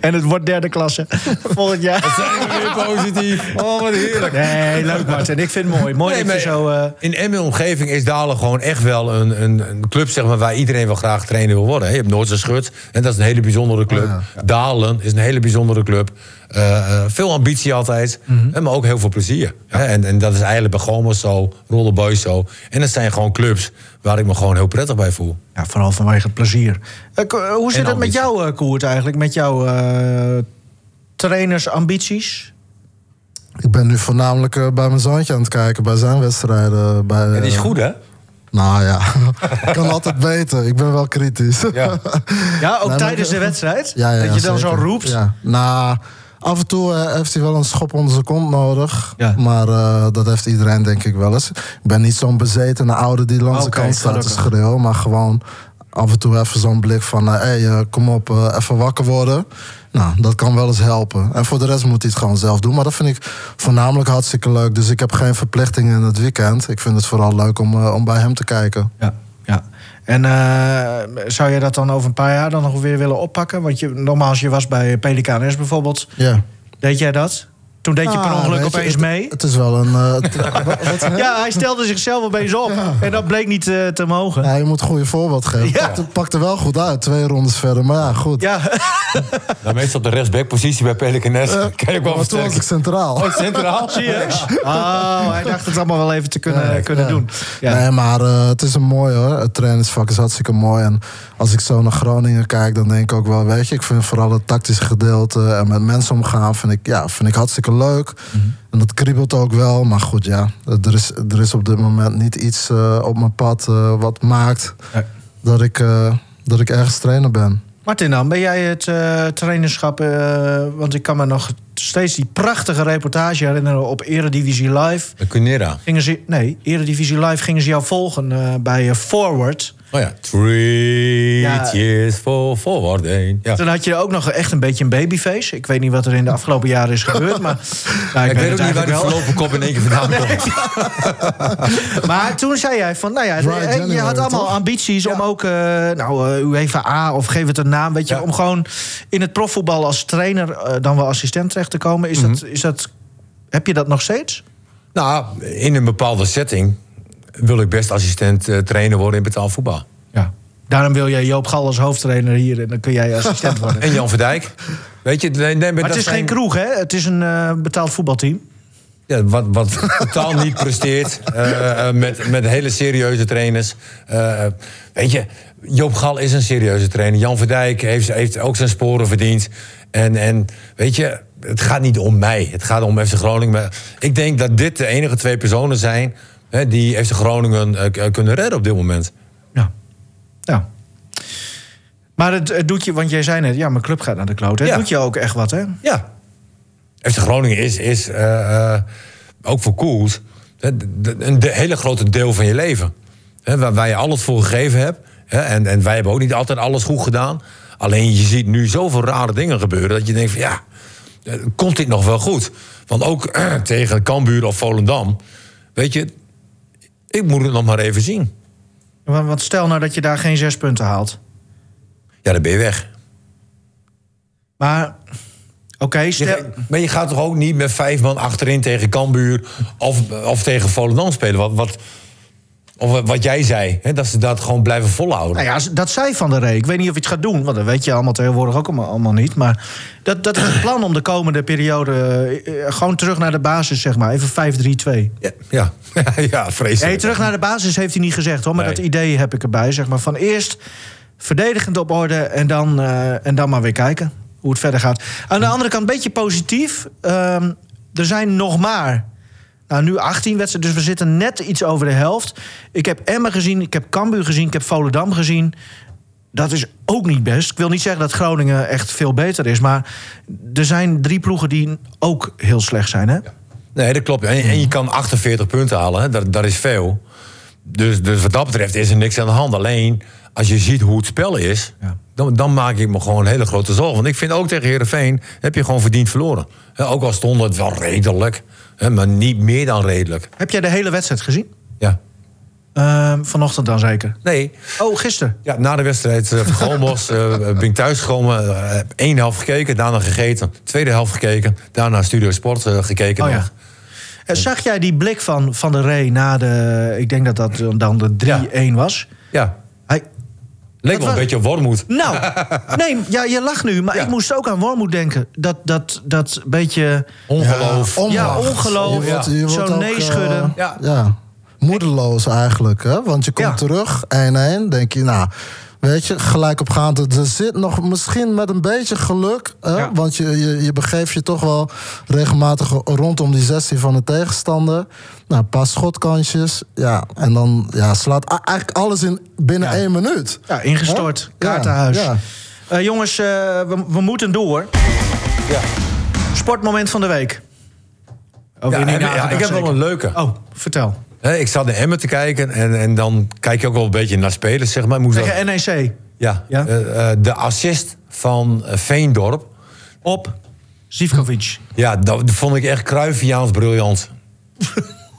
S1: en het wordt derde klasse volgend jaar.
S2: Zijn we weer positief? Oh, wat heerlijk.
S1: Nee, leuk Martin. Ik vind het mooi. Mooi
S2: Nee,
S1: dat je
S2: maar
S1: zo... eh,
S2: In Emmen omgeving is Dalen gewoon echt wel een, een, een club zeg maar, waar iedereen wel graag trainer wil worden. hè. Je hebt Noordse Schut en dat is een hele bijzondere club. Dalen is een hele bijzondere club. Eh, eh, veel ambitie altijd, hè, maar ook heel veel plezier. hè. En, en dat is eigenlijk bij Gomos zo, Rolle Boys zo. En dat zijn gewoon clubs waar ik me gewoon heel prettig bij voel.
S1: Ja, vooral vanwege het plezier. Eh, Ko- eh, hoe zit
S2: En
S1: het met
S2: ambitie.
S1: jou, eh, Koert, eigenlijk? Met jouw eh, trainersambities?
S4: Ik ben nu voornamelijk eh, bij mijn zoontje aan het kijken, bij zijn wedstrijden. Bij,
S2: En die is
S4: eh,
S2: goed, hè?
S4: Nou ja, ik kan altijd beter. Ik ben wel kritisch.
S2: Ja.
S1: Ja, ook
S4: maar
S1: tijdens
S4: ik-
S1: de wedstrijd?
S4: Ja, ja, ja,
S1: dat je dan
S4: zeker.
S1: zo roept?
S4: Ja. Nou, af en toe eh, heeft hij wel een schop onder zijn kont nodig.
S1: Ja.
S4: Maar eh, dat heeft iedereen denk ik wel eens. Ik ben niet zo'n bezetene ouder die langs
S1: Oké,
S4: de kant staat te
S1: gelukkig.
S4: schreeuwen. Maar gewoon af en toe even zo'n blik van... Hé, hey, eh, kom op, eh, even wakker worden. Nou, dat kan wel eens helpen. En voor de rest moet hij het gewoon zelf doen. Maar dat vind ik voornamelijk hartstikke leuk. Dus ik heb geen verplichtingen in het weekend. Ik vind het vooral leuk om, eh, om bij hem te kijken.
S1: Ja, ja. En eh, zou je dat dan over een paar jaar dan nog weer willen oppakken? Want je, nogmaals, je was bij PDKNS bijvoorbeeld.
S4: Ja.
S1: Deed jij dat? Toen deed je per
S4: Ah,
S1: ongeluk
S4: weet je,
S1: opeens
S4: het-
S1: mee?
S4: Het is wel een... eh, het- wat- wat-
S1: Ja, hij stelde zichzelf opeens op. En dat bleek niet eh, te mogen.
S4: Ja, je moet een goede voorbeeld geven.
S1: Ja.
S4: Het pakt er wel goed uit, twee rondes verder. Maar ja, goed.
S1: Ja,
S2: Nou, meestal op de rechtsbackpositie bij Pelicanes.
S4: Eh,
S2: kan ik wel
S4: maar toen was
S2: versterken.
S4: ik centraal.
S2: Oh, centraal?
S1: serieus? Oh, hij dacht het allemaal wel even te kunnen,
S4: Ja,
S1: kunnen
S4: ja.
S1: doen. Ja.
S4: Nee, maar eh, het is een mooi hoor. Het trainersvak is hartstikke mooi. En als ik zo naar Groningen kijk, dan denk ik ook wel... weet je, ik vind vooral het tactische gedeelte en met mensen omgaan... vind ik, ja, vind ik hartstikke leuk.
S1: Mhm.
S4: En dat kriebelt ook wel. Maar goed, ja, er is, er is op dit moment niet iets eh, op mijn pad... eh, wat maakt
S1: Nee.
S4: dat, ik, eh, dat ik ergens trainer ben.
S1: Martin dan, ben jij het eh, trainerschap... eh, want ik kan me nog steeds die prachtige reportage herinneren op Eredivisie Live.
S2: De Cunera.
S1: Gingen ze, nee, Eredivisie Live gingen ze jou volgen eh, bij eh, Forward.
S2: Oh ja. Three
S1: Ja.
S2: years for forward. één. Ja.
S1: Toen had je ook nog echt een beetje een babyface. Ik weet niet wat er in de afgelopen jaren is gebeurd, maar... nou,
S2: Ik, weet ook
S1: het
S2: niet waar
S1: eigenlijk
S2: die
S1: wel.
S2: verlopen kop in één keer vandaan komt.
S1: Maar toen zei jij van, nou ja,
S4: Dry
S1: eh, je
S4: January,
S1: had allemaal
S4: toch?
S1: ambities om ook, eh nou, eh, UEFA A of geef het een naam, weet je,
S2: Ja.
S1: om gewoon in het profvoetbal als trainer eh, dan wel assistent terecht te komen. Is dat, is dat, heb je dat nog steeds?
S2: Nou, in een bepaalde setting wil ik best assistent eh, trainer worden in betaald voetbal.
S1: Ja. Daarom wil jij Joop Gal als hoofdtrainer hier en dan kun jij assistent worden.
S2: En Jan Verdijk. Weet je, nee, nee, maar
S1: Maar
S2: dat
S1: het is
S2: zijn-
S1: geen kroeg, hè? Het is een eh, betaald voetbalteam.
S2: Ja, wat, wat totaal niet presteert. eh, eh, met, met hele serieuze trainers. Eh, weet je, Joop Gal is een serieuze trainer. Jan Verdijk heeft, heeft ook zijn sporen verdiend. En, en weet je, het gaat niet om mij. Het gaat om FC Groningen. Maar ik denk dat dit de enige twee personen zijn hè, die FC Groningen eh, k- eh, kunnen redden op dit moment.
S1: Ja. ja. Maar het, het doet je, want jij zei net, ja, mijn club gaat naar de kloot. Het
S2: Ja.
S1: doet je ook echt wat, hè?
S2: Ja. FC Groningen is, is eh, eh, ook voor Koels hè, de- de- een de- hele grote deel van je leven. Hè, waar, waar je alles voor gegeven hebt. Hè, en, en wij hebben ook niet altijd alles goed gedaan. Alleen je ziet nu zoveel rare dingen gebeuren dat je denkt van ja, eh, komt dit nog wel goed? Want ook tegen Cambuur of Volendam, weet je, ik moet het nog maar even zien.
S1: Want, want stel nou dat je daar geen zes punten haalt.
S2: Ja, dan ben je weg.
S1: Maar, oké,
S2: Je-
S1: stel...
S2: maar je gaat toch ook niet met vijf man achterin tegen Cambuur of, of tegen Volendam spelen? Wat, wat, of wat jij zei, hè, dat ze dat gewoon blijven volhouden.
S1: Nou ja, dat zei Van der Rey. Ik weet niet of je het gaat doen, want dat weet je allemaal tegenwoordig ook allemaal, allemaal niet. Maar dat, dat is het plan om de komende periode eh, eh, gewoon terug naar de basis, zeg maar. Even 5-3-2.
S2: Ja, ja, ja vreselijk.
S1: Nee, terug naar de basis heeft hij niet gezegd hoor. Maar
S2: Nee.
S1: dat idee heb ik erbij. Zeg maar van eerst verdedigend op orde en dan, eh, en dan maar weer kijken hoe het verder gaat. Aan de andere kant, een beetje positief. Ehm, er zijn nog maar. Nou, nu 18 wedstrijden, dus we zitten net iets over de helft. Ik heb Emmen gezien, ik heb Cambuur gezien, ik heb Volendam gezien. Dat is ook niet best. Ik wil niet zeggen dat Groningen echt veel beter is. Maar er zijn drie ploegen die ook heel slecht zijn, hè?
S2: Nee, dat klopt. En, en je kan 48 punten halen, hè. Dat, dat is veel. Dus, dus wat dat betreft is er niks aan de hand. Alleen als je ziet hoe het spel is,
S1: Ja.
S2: dan, dan maak ik me gewoon hele grote zorgen. Want ik vind ook tegen Herenveen heb je gewoon verdiend verloren. Hè, ook al stond het wel redelijk, hè, maar niet meer dan redelijk.
S1: Heb jij de hele wedstrijd gezien?
S2: Ja.
S1: Ehm, vanochtend dan zeker.
S2: Nee.
S1: Oh, gisteren.
S2: Ja, na de wedstrijd eh, van Golmos eh, ben ik thuisgekomen. eh, Heb één helft gekeken, daarna gegeten. Tweede helft gekeken, daarna Studio Sport eh, gekeken.
S1: Oh ja.
S2: nog.
S1: Eh, Zag jij die blik van Van der Rey na de... Ik denk dat dat dan de 3-1 was.
S2: ja.
S1: Hij,
S2: Leek
S1: Wat
S2: wel een
S1: was-
S2: beetje op Wormoed.
S1: nou, nee, ja, je lacht nu. Maar
S2: Ja.
S1: ik moest ook aan Wormoed denken. Dat, dat, dat beetje...
S2: Ongeloof.
S4: Ja,
S1: Ja,
S4: onmacht.
S1: ongeloof.
S4: Je wordt- je wordt
S1: Zo'n
S4: ook,
S1: nee schudden.
S4: eh,
S2: Ja.
S4: ja. moedeloos eigenlijk. Hè? Want je komt
S1: Ja.
S4: terug, 1-1, denk je, nou... Weet je, gelijk opgaand. Er zit nog misschien met een beetje geluk. Hè?
S1: Ja.
S4: Want je, je, je begeeft je toch wel regelmatig rondom die 16 van de tegenstander. Nou, een paar schotkansjes. Ja, en dan ja, slaat a- eigenlijk alles in binnen één minuut.
S1: Ja, ingestort.
S4: Hè? Ja,
S1: Kaartenhuis.
S4: ja.
S1: Eh, jongens, eh, we, we moeten door. Sportmoment van de week. Oh,
S2: Ja,
S1: weer niet
S2: en- ja,
S1: nagedacht,
S2: ik heb wel
S1: zeker.
S2: een leuke.
S1: Oh, vertel.
S2: Hè, ik zat naar Emmen te kijken en, en dan kijk je ook wel een beetje naar spelers. Zeg maar. Ik moest dat-
S1: Tegen NEC.
S2: ja.
S1: Ja.
S2: Eh, eh, de assist van eh, Veendorp. Op
S1: Zivkovic.
S2: Ja, dat vond ik echt Cruyffiaans briljant.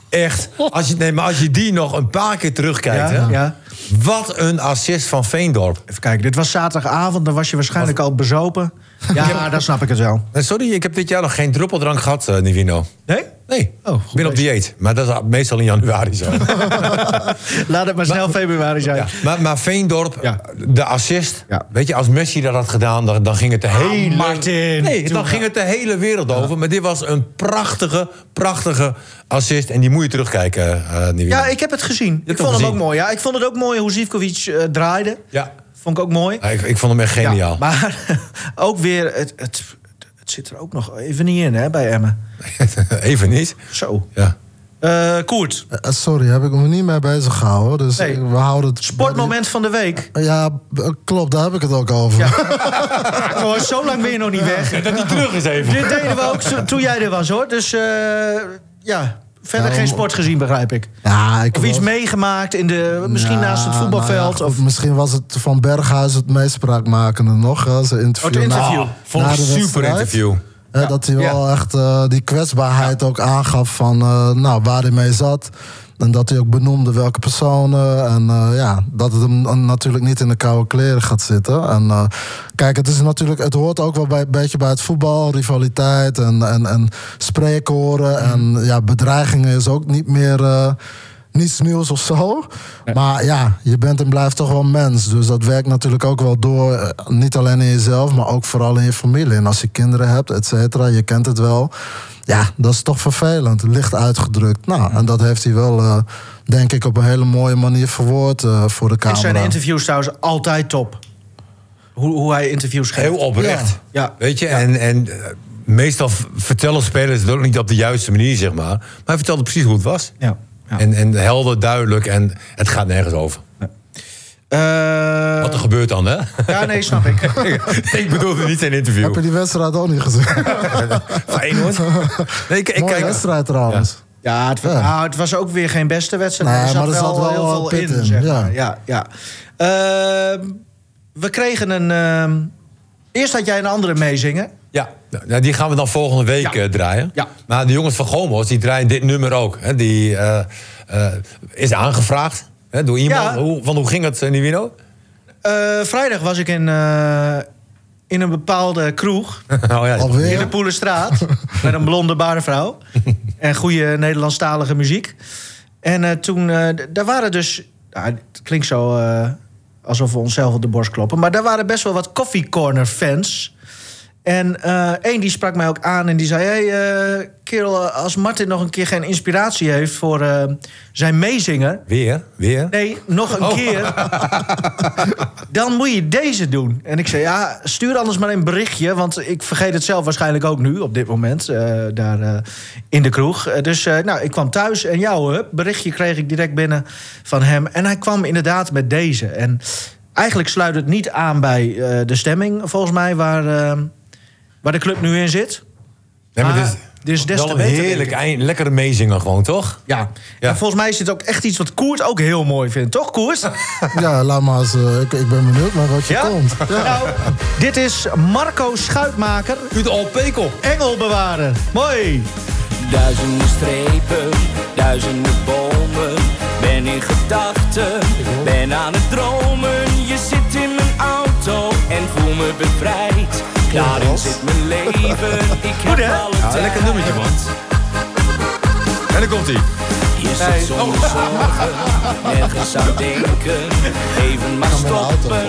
S2: echt. Als je, nee, maar als je die nog een paar keer terugkijkt...
S1: Ja,
S2: hè,
S1: ja.
S2: wat een assist van Veendorp.
S1: Even kijken, dit was zaterdagavond, dan was je waarschijnlijk al bezopen. Ja, dan snap ik het wel.
S2: Eh, Sorry, ik heb dit jaar nog geen druppeldrank gehad, eh, Nivino.
S1: Nee?
S2: Nee,
S1: Oh,
S2: ik
S1: goed
S2: ben op
S1: bezig.
S2: dieet. Maar dat is meestal in januari zo.
S1: Laat het maar snel februari zijn.
S2: ja. maar, maar Veendorp,
S1: Ja.
S2: de assist.
S1: Ja. Ah,
S2: Weet je, als Messi dat had gedaan, dan, dan ging het de hele...
S1: Martin.
S2: nee,
S1: Doe
S2: dan ging het de hele wereld over. Maar dit was een prachtige, prachtige assist. En die moet je terugkijken, eh Nivino.
S1: Ja, ik heb het gezien. Ik
S2: hebt
S1: vond
S2: hem
S1: hem ook
S2: gezien.
S1: mooi. Ja, ik vond het ook mooi hoe Zivkovic eh, draaide.
S2: Ja.
S1: Vond ik ook mooi.
S2: Ja, Ah, Ik, ik vond hem echt
S1: Ja,
S2: geniaal.
S1: maar ook weer, het, het, het zit er ook nog even niet in hè, bij Emmen.
S2: Even niet.
S1: Zo.
S2: Ja.
S1: Eh, Koert,
S4: Eh, Sorry, heb ik me niet mee bezig gehouden. Dus
S1: Nee.
S4: eh, we houden het.
S1: sportmoment van de week.
S4: Ja, eh, klopt, daar heb ik het ook over.
S1: Ah, jongens, zo lang ben je nog niet weg.
S2: Dat hij terug is even.
S1: Dit deden we ook zo- toen jij er was hoor. Dus eh, ja, verder
S4: Nou,
S1: geen sport gezien begrijp ik.
S4: Ja, ik
S1: Of
S4: heb
S1: iets
S4: wel-
S1: meegemaakt, in de, Eh, misschien
S4: Ja,
S1: naast het
S4: nou
S1: voetbalveld.
S4: ja,
S1: of,
S4: goed, Misschien was het van Berghuis het meest spraakmakende nog. Hè, zijn interview.
S1: Oh, het interview.
S4: na-
S2: Vond
S4: na
S2: ik
S4: de
S2: super
S4: wedstrijd.
S2: interview.
S4: Hè, dat hij wel echt eh, die kwetsbaarheid ook aangaf van eh, nou, waar hij mee zat. En dat hij ook benoemde welke personen. En eh, ja, dat het hem dan natuurlijk niet in de koude kleren gaat zitten. En eh, kijk, het is natuurlijk, het hoort ook wel bij, een beetje bij het voetbal, rivaliteit en, en, en spreekkoren. En ja, bedreigingen is ook niet meer. eh, niets nieuws of zo. Maar ja, je bent en blijft toch wel mens. Dus dat werkt natuurlijk ook wel door. eh, Niet alleen in jezelf, maar ook vooral in je familie. En als je kinderen hebt, et cetera, je kent het wel. Ja, dat is toch vervelend. Licht uitgedrukt. Nou, en dat heeft hij wel, eh, denk ik, op een hele mooie manier verwoord eh, voor de
S1: Ik
S4: camera.
S1: zijn interviews trouwens altijd top. Hoe, hoe hij interviews geeft.
S2: Heel oprecht.
S1: Ja.
S2: Weet je, en, en eh, meestal v- vertellen spelers het ook niet op de juiste manier, zeg maar. Maar hij vertelde precies hoe het was.
S1: Ja, ja.
S2: En, en helder, duidelijk en het gaat nergens over.
S1: Eh,
S2: Wat er gebeurt dan, hè?
S1: ja, nee, snap ik.
S2: ik bedoelde niet zijn interview.
S4: Heb je die wedstrijd ook niet gezien?
S2: Feyenoord? Nee, ik, ik
S4: Mooie
S2: kijk...
S4: wedstrijd trouwens.
S1: Ja, het, wa-
S4: Ja.
S1: ah, het was ook weer geen beste wedstrijd.
S4: Nee,
S1: maar er zat
S4: maar er
S1: wel,
S4: zat wel
S1: heel
S4: wel
S1: veel
S4: pit
S1: in.
S4: in,
S1: zeg
S4: ja.
S1: maar. ja, ja. Ehm, we kregen een. ehm, eerst had jij een andere meezingen.
S2: Ja, nou, die gaan we dan volgende week
S1: Ja.
S2: eh, draaien.
S1: Ja.
S2: Maar de jongens van Gomos, die draaien dit nummer ook. Hè. Die eh, eh, is aangevraagd hè, door iemand.
S1: Ja.
S2: Hoe, want hoe ging het, eh, Nivino?
S1: Eh, vrijdag was ik in, eh, in een bepaalde kroeg.
S2: oh, ja.
S1: In de
S4: Alweer?
S1: Poelenstraat. met een blonde baarvrouw. En goede Nederlandstalige muziek. En eh, toen, eh, d- daar waren dus... nou, het klinkt zo eh, alsof we onszelf op de borst kloppen. Maar daar waren best wel wat Coffee Corner fans. En eh één die sprak mij ook aan en die zei... Hey, eh, kerel, eh, als Martin nog een keer geen inspiratie heeft voor eh, zijn meezinger...
S2: Weer, weer.
S1: Nee, nog een
S2: Oh.
S1: keer. Dan moet je deze doen. En ik zei, ja, stuur anders maar een berichtje. Want ik vergeet het zelf waarschijnlijk ook nu, op dit moment. eh, daar eh, in de kroeg. Eh, dus eh, nou, ik kwam thuis en jouw hup, berichtje kreeg ik direct binnen van hem. En hij kwam inderdaad met deze. En eigenlijk sluit het niet aan bij eh, de stemming, volgens mij, waar, eh, waar de club nu in zit.
S2: Nee, maar
S1: maar
S2: dit is,
S1: dit is des
S2: wel
S1: te
S2: een
S1: beter,
S2: heerlijk,
S1: denk
S2: eind, lekkere meezinger gewoon, toch?
S1: Ja.
S2: Ja.
S1: En volgens mij is dit ook echt iets wat Koert ook heel mooi vindt. Toch, Koert?
S4: Ja, laat maar eens. eh, ik, ik ben benieuwd naar wat je
S1: Ja?
S4: komt.
S1: Nou, dit is Marco Schuitmaker,
S2: Uit al pekel.
S1: Engel bewaren. Mooi.
S6: Duizenden strepen, duizenden bomen. Ben in gedachten, ben aan het dromen. Je zit in mijn auto en voel me bevrijd. Daarin zit mijn leven, ik heb
S1: Goed, hè?
S6: alle
S2: Ja, lekker nummertje, man. En dan komt hij.
S6: Je zit zonder zorgen, nergens aan denken. Even maar
S4: met de auto
S6: stoppen,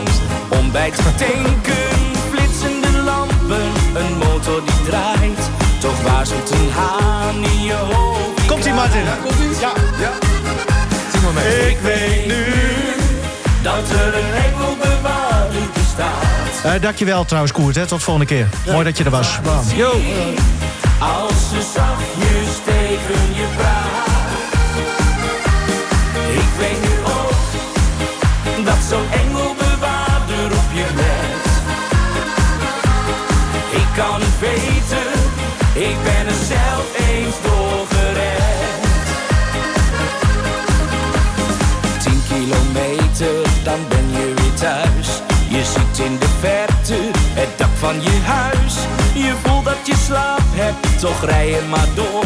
S6: om bij te tanken. Flitsende lampen, een motor die draait. Toch waarschuwt een haan in je hoofd.
S1: Komt-ie, Martin.
S6: Ik weet nu dat er een engelbewaarder bestaat.
S1: Eh dankjewel trouwens, Koert. Hè. Tot volgende keer. Mooi dat je er was. Yo.
S6: Als ze zachtjes tegen je praat. Ik weet nu ook dat zo'n engelbewaarder op je let. Ik kan het weten, ik ben er zelf eens door gered. 10 kilometer, dan ben je weer thuis. Je ziet in de verte het dak van je huis. Je voelt dat je slaap hebt, toch rij je maar door.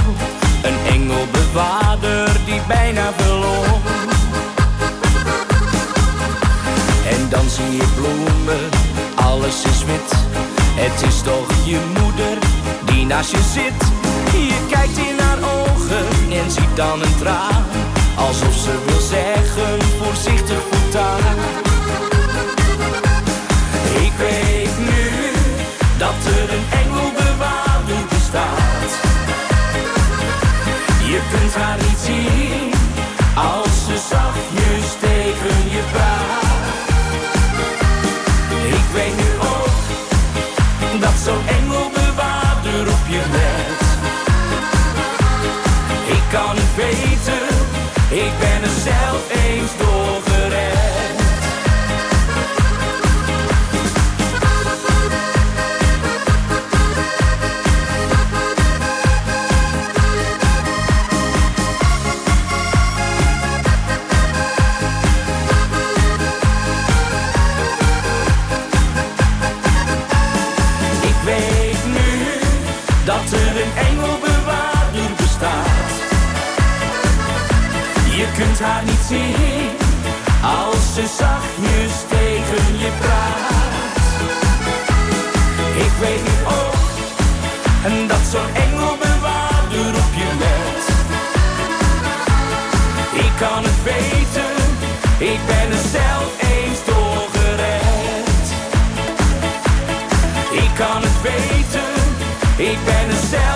S6: Een engelbewaarder die bijna verloor. En dan zie je bloemen, alles is wit. Het is toch je moeder die naast je zit. Je kijkt in haar ogen en ziet dan een traan. Alsof ze wil zeggen, voorzichtig voortaan. Ik weet nu dat er een engelbewaarder bestaat. Je kunt haar niet zien als ze zachtjes tegen je praat. Ik weet nu ook dat zo'n engelbewaarder op je let. Ik kan het weten, ik ben er zelf eens door gered. Ik weet nu dat er een engelbewaarder bestaat. Je kunt haar niet zien als ze zachtjes tegen je praat. Ik weet nu ook en dat zo'n engelbewaarder op je let. Ik kan het weten, ik ben er zelf eens door gered. Ik kan het weten, ik ben er zelf.